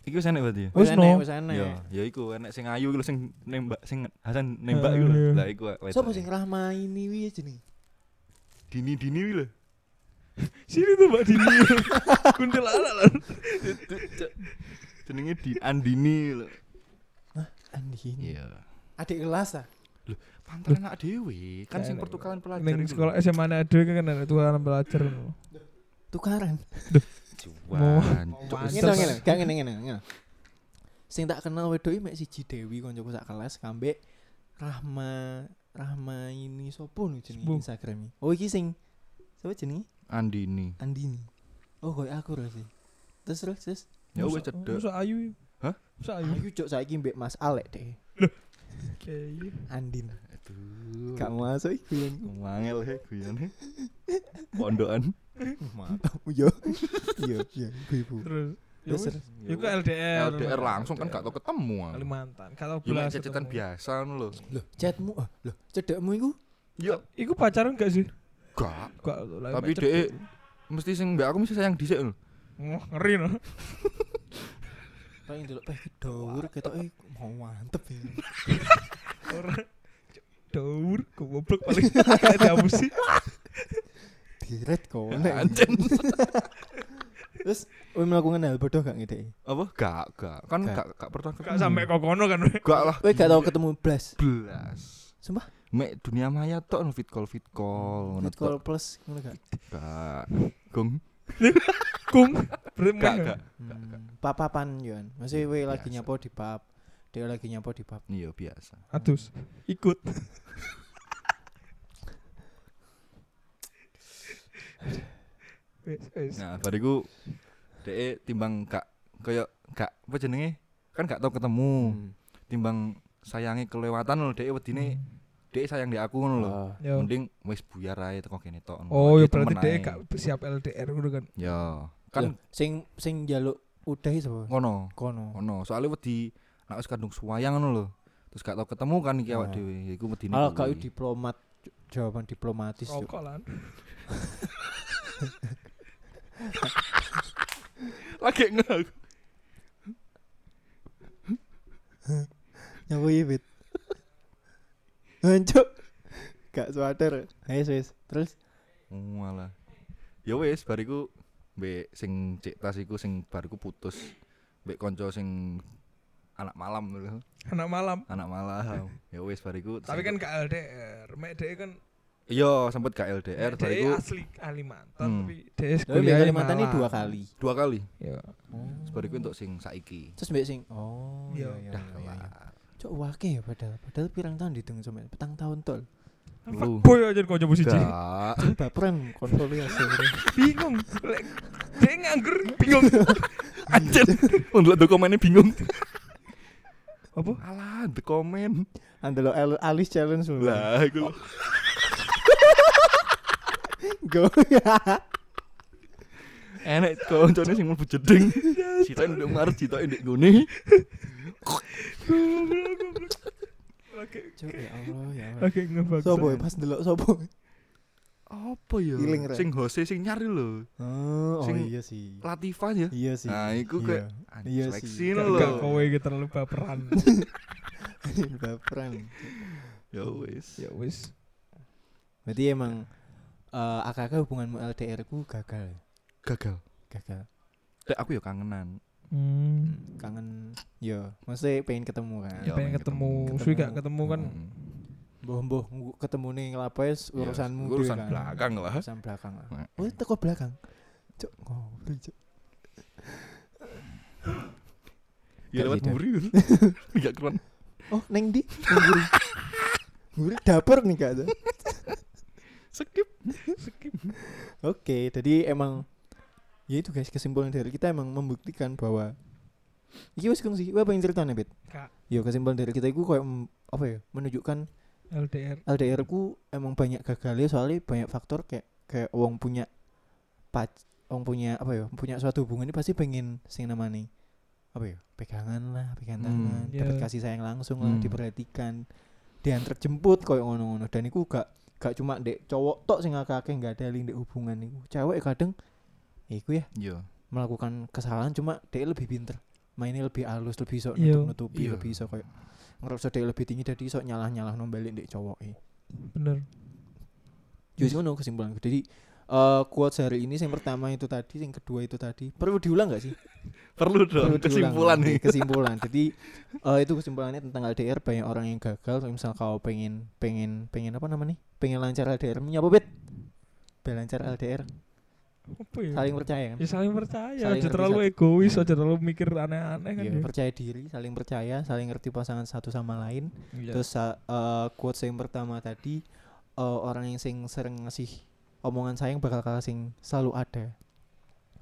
Speaker 4: Iki wis enek berarti ya.
Speaker 3: Wis
Speaker 2: enek,
Speaker 3: no.
Speaker 2: wis enek.
Speaker 4: Ya, ya iku enek sing ayu iku lho, sing nembak sing Hasan nembak
Speaker 3: Eh,
Speaker 4: iku lho.
Speaker 3: iya.
Speaker 4: Lah iku wae.
Speaker 2: Sopo sing Rahma ini wis jenenge?
Speaker 4: dini-dini kuwi lho.
Speaker 3: Sini tuh Mbak Dini. Kuntil anak lah.
Speaker 4: Jenenge di Andini lho.
Speaker 2: Andini.
Speaker 4: Iya.
Speaker 2: Adik kelas ah.
Speaker 4: Pantalan anak dhewe, kan sing
Speaker 3: Enak.
Speaker 4: pertukaran pelajar
Speaker 3: Neng
Speaker 4: iku lho.
Speaker 3: sekolah SMA nek aduh kan ada tukaran pelajar. no.
Speaker 4: Ya
Speaker 2: tukaran
Speaker 3: Mau-
Speaker 4: Cuan. Cuk,
Speaker 3: Pantes.
Speaker 2: ngene ngene gak ngene ngene ngene. sing tak kenal wedoki mek siji Dewi koncoku sak kelas kambek Rahma Rahma ini sopo nih jenenge
Speaker 3: Sopo?
Speaker 2: Instagram oh iki sing sapa jenenge
Speaker 4: Andini.
Speaker 2: Andini oh koyo aku lho sih terus terus terus
Speaker 4: Ya wis
Speaker 3: Masa-
Speaker 4: cedek.
Speaker 3: masa ayu. ya?
Speaker 4: Hah?
Speaker 3: Masa ayu.
Speaker 2: ayo cok saiki mbek Mas Alek deh
Speaker 3: Oke, iya.
Speaker 2: Andin
Speaker 4: Aduh.
Speaker 2: gak masuk iku yang
Speaker 4: Mangel he guyone. Pondokan.
Speaker 2: matamu yo yo yo ibu ibu
Speaker 3: Terus. ya
Speaker 2: terus
Speaker 3: wis.
Speaker 2: terus
Speaker 3: Ya ku LDR.
Speaker 4: LDR langsung kan gak tau ketemu. aku.
Speaker 3: Kalimantan. Gak tau
Speaker 4: Ya mek
Speaker 3: belas.
Speaker 4: cecetan
Speaker 3: ketemu.
Speaker 4: biasa ngono lho.
Speaker 2: loh chatmu ah loh cedekmu iku
Speaker 4: Yo
Speaker 3: Iku pacaran gak sih?
Speaker 4: gak.
Speaker 3: Gak tau lah,
Speaker 4: Tapi
Speaker 3: macet.
Speaker 4: dhek mesti sing mbak aku mesti sayang dhisik lho.
Speaker 3: Wah, ngeri no.
Speaker 2: pengen delok pengen dawur ketoke mau mantep ya
Speaker 3: Ora daur goblok paling ada musik.
Speaker 2: diret kok
Speaker 4: Anjen.
Speaker 2: Terus kowe melakukan hal bodoh gak ngedeki?
Speaker 4: Apa gak gak. Kan gak
Speaker 2: Gak.
Speaker 4: gak pernah ketemu.
Speaker 3: Gak sampai kokono kan. we.
Speaker 4: Gak lah.
Speaker 2: Kowe gak tau ketemu Blas.
Speaker 4: belas.
Speaker 2: Sumpah?
Speaker 4: Mek dunia maya tok no fit call fit call ngono
Speaker 2: Fit
Speaker 4: tok.
Speaker 2: call plus ngono gak?
Speaker 4: Gak. Gong.
Speaker 3: Kung. Berarti
Speaker 4: Gak
Speaker 3: meh.
Speaker 4: gak.
Speaker 2: Hmm, Pap-papan yo. Masih kowe
Speaker 4: Biasa.
Speaker 2: lagi nyapo di pub. dia lagi nyapo di pub
Speaker 4: Iya biasa.
Speaker 3: Atus ikut. Wes, wes.
Speaker 4: Nah, bariku dhek timbang gak koyo gak apa jenenge? Kan gak tau ketemu.
Speaker 2: Hmm.
Speaker 4: Timbang sayangi kelewatan lho dhek wedine dhek sayang dhek aku ngono lho.
Speaker 2: Ah,
Speaker 3: Yo.
Speaker 4: Mending wis buyar ae teko kene tok. ngono.
Speaker 3: Oh, ya
Speaker 4: Lagi
Speaker 3: berarti
Speaker 4: temen
Speaker 3: dia
Speaker 4: ae.
Speaker 3: gak siap LDR gitu kan.
Speaker 4: Ya,
Speaker 2: kan
Speaker 4: kan
Speaker 2: sing sing jaluk udahi sapa
Speaker 4: ngono.
Speaker 2: kono
Speaker 4: Ngono, soalnya wedi nek wis kandung suwayang ngono lho. Terus gak tau ketemu kan iki awak
Speaker 2: Nah.
Speaker 4: dhewe. Ya iku medine.
Speaker 2: malah
Speaker 4: kuwi.
Speaker 2: kau diplomat Cuk. jawaban diplomatis Cuk.
Speaker 3: Rokok lan.
Speaker 4: lagi ngelak.
Speaker 2: Nyawa iya bit Hancuk Gak swadar Ayo wis Terus
Speaker 4: Walah. Ya wis bariku mbek sing cek tas iku sing bariku putus mbek kanca sing anak malam lho.
Speaker 3: Anak malam.
Speaker 4: Anak malam. ya wis bariku.
Speaker 3: Tapi kan gak LDR. Mek dia kan
Speaker 4: iya sempet gak LDR
Speaker 3: mek dia
Speaker 4: bariku
Speaker 3: asli Kalimantan
Speaker 4: Hmm.
Speaker 3: tapi dia
Speaker 2: Tapi
Speaker 3: kuliahnya
Speaker 2: Kalimantan ini
Speaker 3: Malang.
Speaker 2: dua kali
Speaker 4: dua kali.
Speaker 3: Iya.
Speaker 4: Terus bariku untuk sing saiki.
Speaker 2: Terus mbak sing Oh
Speaker 3: Iya.
Speaker 2: iya iya iya iya. Cok wake ya padahal Padahal pirang tahun dihitung sama Petang tahun tol
Speaker 4: Lu.
Speaker 3: Boy aja kau coba siji.
Speaker 4: Dak.
Speaker 2: Baperan konsolidasi
Speaker 3: Bingung. Lek dia nganggur bingung.
Speaker 4: Anjir, ndelok dokumennya bingung.
Speaker 3: Apa?
Speaker 4: Alah, the comment.
Speaker 2: Andelo al- alis challenge lu
Speaker 4: Lah, iku.
Speaker 2: Go
Speaker 4: Enek koncone sing mlebu jeding. Citoke ndek mar, citoke ndek ngene.
Speaker 3: Goblok, goblok. Oke.
Speaker 2: Cok ya Allah ya Allah
Speaker 3: Oke ngebaksa.
Speaker 2: Sopo ya, pas delok sopo
Speaker 4: Apa ya?
Speaker 2: Iling, Rek.
Speaker 4: Sing hose sing nyari lho.
Speaker 2: Oh, oh
Speaker 4: Sing-
Speaker 2: iya sih
Speaker 4: Latifah ya.
Speaker 2: Iya sih
Speaker 4: Nah, iku
Speaker 2: Iya.
Speaker 4: kayak
Speaker 2: Iya
Speaker 4: anjir,
Speaker 2: sih.
Speaker 4: flexing
Speaker 3: Gak-
Speaker 4: lho.
Speaker 3: Gak kowe iki terlalu baperan.
Speaker 2: Baperan
Speaker 4: Ya wis.
Speaker 3: ya wis.
Speaker 2: Berarti emang eh AKK hubunganmu LDR ku kan gagal
Speaker 4: Gagal.
Speaker 2: Gagal
Speaker 4: Dek aku ya kangenan.
Speaker 3: Hmm.
Speaker 2: kangen yo maksudnya pengen ketemu kan
Speaker 4: Yo. pengen
Speaker 3: Pengen ketemu,
Speaker 2: ketemu.
Speaker 3: suwi gak ketemu
Speaker 2: Hmm.
Speaker 3: kan.
Speaker 4: Mm.
Speaker 2: boh boh ketemu nih ngelapes
Speaker 4: Ya,
Speaker 2: urusanmu dhewe
Speaker 4: urusan
Speaker 2: kan.
Speaker 4: belakang lah.
Speaker 2: urusan belakang lah
Speaker 4: Nah.
Speaker 2: oh teko belakang cok ngobrol cok
Speaker 4: Ya
Speaker 2: Gak
Speaker 4: lewat
Speaker 2: sih, Dad.
Speaker 4: muri. Enggak keren.
Speaker 2: oh neng di Neng guri guri dapur nih gak ada
Speaker 4: Skip.
Speaker 2: oke jadi emang ya itu guys kesimpulan dari kita emang membuktikan bahwa Iki wis kung sih, apa yang ceritanya bet?
Speaker 3: Kak.
Speaker 2: Yo kesimpulan dari kita itu kayak mm, apa ya? Menunjukkan
Speaker 3: LDR.
Speaker 2: LDR ku emang banyak gagalnya soalnya banyak faktor kayak kayak wong punya pac wong punya apa ya punya suatu hubungan ini pasti pengen sing namanya apa ya pegangan lah pegangan
Speaker 4: Hmm.
Speaker 2: tangan
Speaker 3: Iya.
Speaker 2: dapat kasih sayang langsung lah
Speaker 4: Hmm.
Speaker 2: diperhatikan diantar jemput koyo ngono-ngono dan iku gak gak cuma dek cowok tok sing akeh gak ada link dek hubungan iku cewek kadang ya iku ya
Speaker 4: Yo.
Speaker 2: melakukan kesalahan cuma dek lebih pinter mainnya lebih halus lebih sok
Speaker 3: Iya.
Speaker 2: nutup nutupi
Speaker 4: Iya.
Speaker 2: lebih sok koyo ngerasa dek lebih tinggi dari sok nyalah nyalah nombalik dek cowok eh.
Speaker 3: Bener.
Speaker 2: Jadi ngono kesimpulanku. Jadi eh quotes hari ini yang pertama itu tadi, yang kedua itu tadi. Perlu diulang nggak sih?
Speaker 4: Perlu
Speaker 2: Perlu
Speaker 4: dong
Speaker 2: diulang.
Speaker 4: kesimpulan
Speaker 2: Oke,
Speaker 4: nih.
Speaker 2: Kesimpulan. Jadi eh itu kesimpulannya tentang LDR banyak orang yang gagal. Kalau Misal kau pengen pengen pengen apa namanya? Pengen lancar LDR, punya apa bet? Pengen lancar LDR,
Speaker 3: Apa
Speaker 4: Iya.
Speaker 3: ya?
Speaker 2: saling percaya kan?
Speaker 3: Ya saling percaya,
Speaker 2: Saling
Speaker 3: aja
Speaker 2: ngerti
Speaker 3: terlalu
Speaker 2: satu-
Speaker 3: egois,
Speaker 2: Hmm.
Speaker 3: aja terlalu mikir aneh-aneh kan.
Speaker 2: Iya,
Speaker 3: ya.
Speaker 2: percaya diri, saling percaya, saling ngerti pasangan satu sama lain.
Speaker 3: Iya.
Speaker 2: Terus sa- eh, quotes yang pertama tadi eh, orang yang sing sering ngasih omongan sayang bakal kalah sing selalu ada.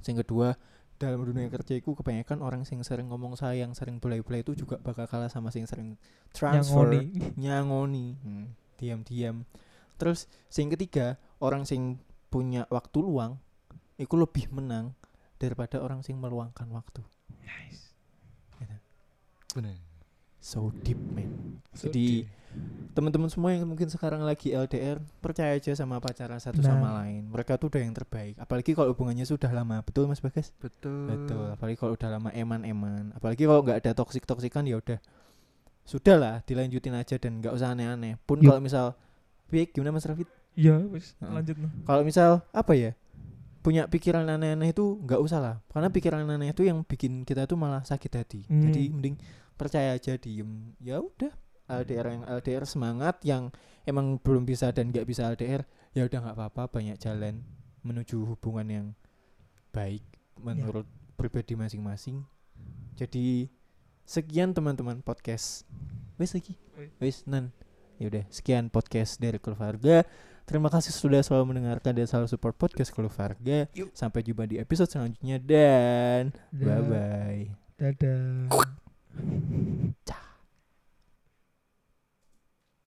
Speaker 2: Sing kedua dalam dunia kerja iku kebanyakan orang sing sering ngomong sayang, sering belai-belai itu juga bakal kalah sama sing sering
Speaker 3: Nyangoni.
Speaker 2: transfer, nyangoni, Hmm, diam-diam. Terus sing ketiga orang sing punya waktu luang iku lebih menang daripada orang sing meluangkan waktu.
Speaker 4: Bener.
Speaker 2: So deep man. Jadi teman-teman semua yang mungkin sekarang lagi LDR percaya aja sama pacaran satu
Speaker 3: Nah.
Speaker 2: sama lain. Mereka tuh udah yang terbaik. Apalagi kalau hubungannya sudah lama, betul Mas Bagas?
Speaker 3: Hmm.
Speaker 4: Betul.
Speaker 2: Betul. Apalagi kalau udah lama eman-eman. Apalagi kalau nggak ada toksik toksikan ya udah. Sudahlah, dilanjutin aja dan nggak usah aneh-aneh. Pun
Speaker 3: Yup.
Speaker 2: kalau misal Pik, gimana Mas Rafid?
Speaker 3: iya wis
Speaker 2: Heeh.
Speaker 3: lanjut no.
Speaker 2: Kalau misal apa ya? Punya pikiran aneh-aneh itu nggak usah lah. Karena pikiran aneh itu yang bikin kita tuh malah sakit hati.
Speaker 3: Hmm.
Speaker 2: Jadi mending percaya aja diem. Ya udah. LDR yang LDR semangat yang emang belum bisa dan nggak bisa LDR ya udah nggak apa-apa banyak jalan menuju hubungan yang baik menurut pribadi masing-masing. Jadi Sekian teman-teman podcast. Wes lagi. Wes nan. Ya udah, sekian podcast dari keluarga. Terima kasih sudah selalu mendengarkan dan selalu support podcast keluarga. Sampai jumpa di episode selanjutnya dan bye bye.
Speaker 3: Dadah.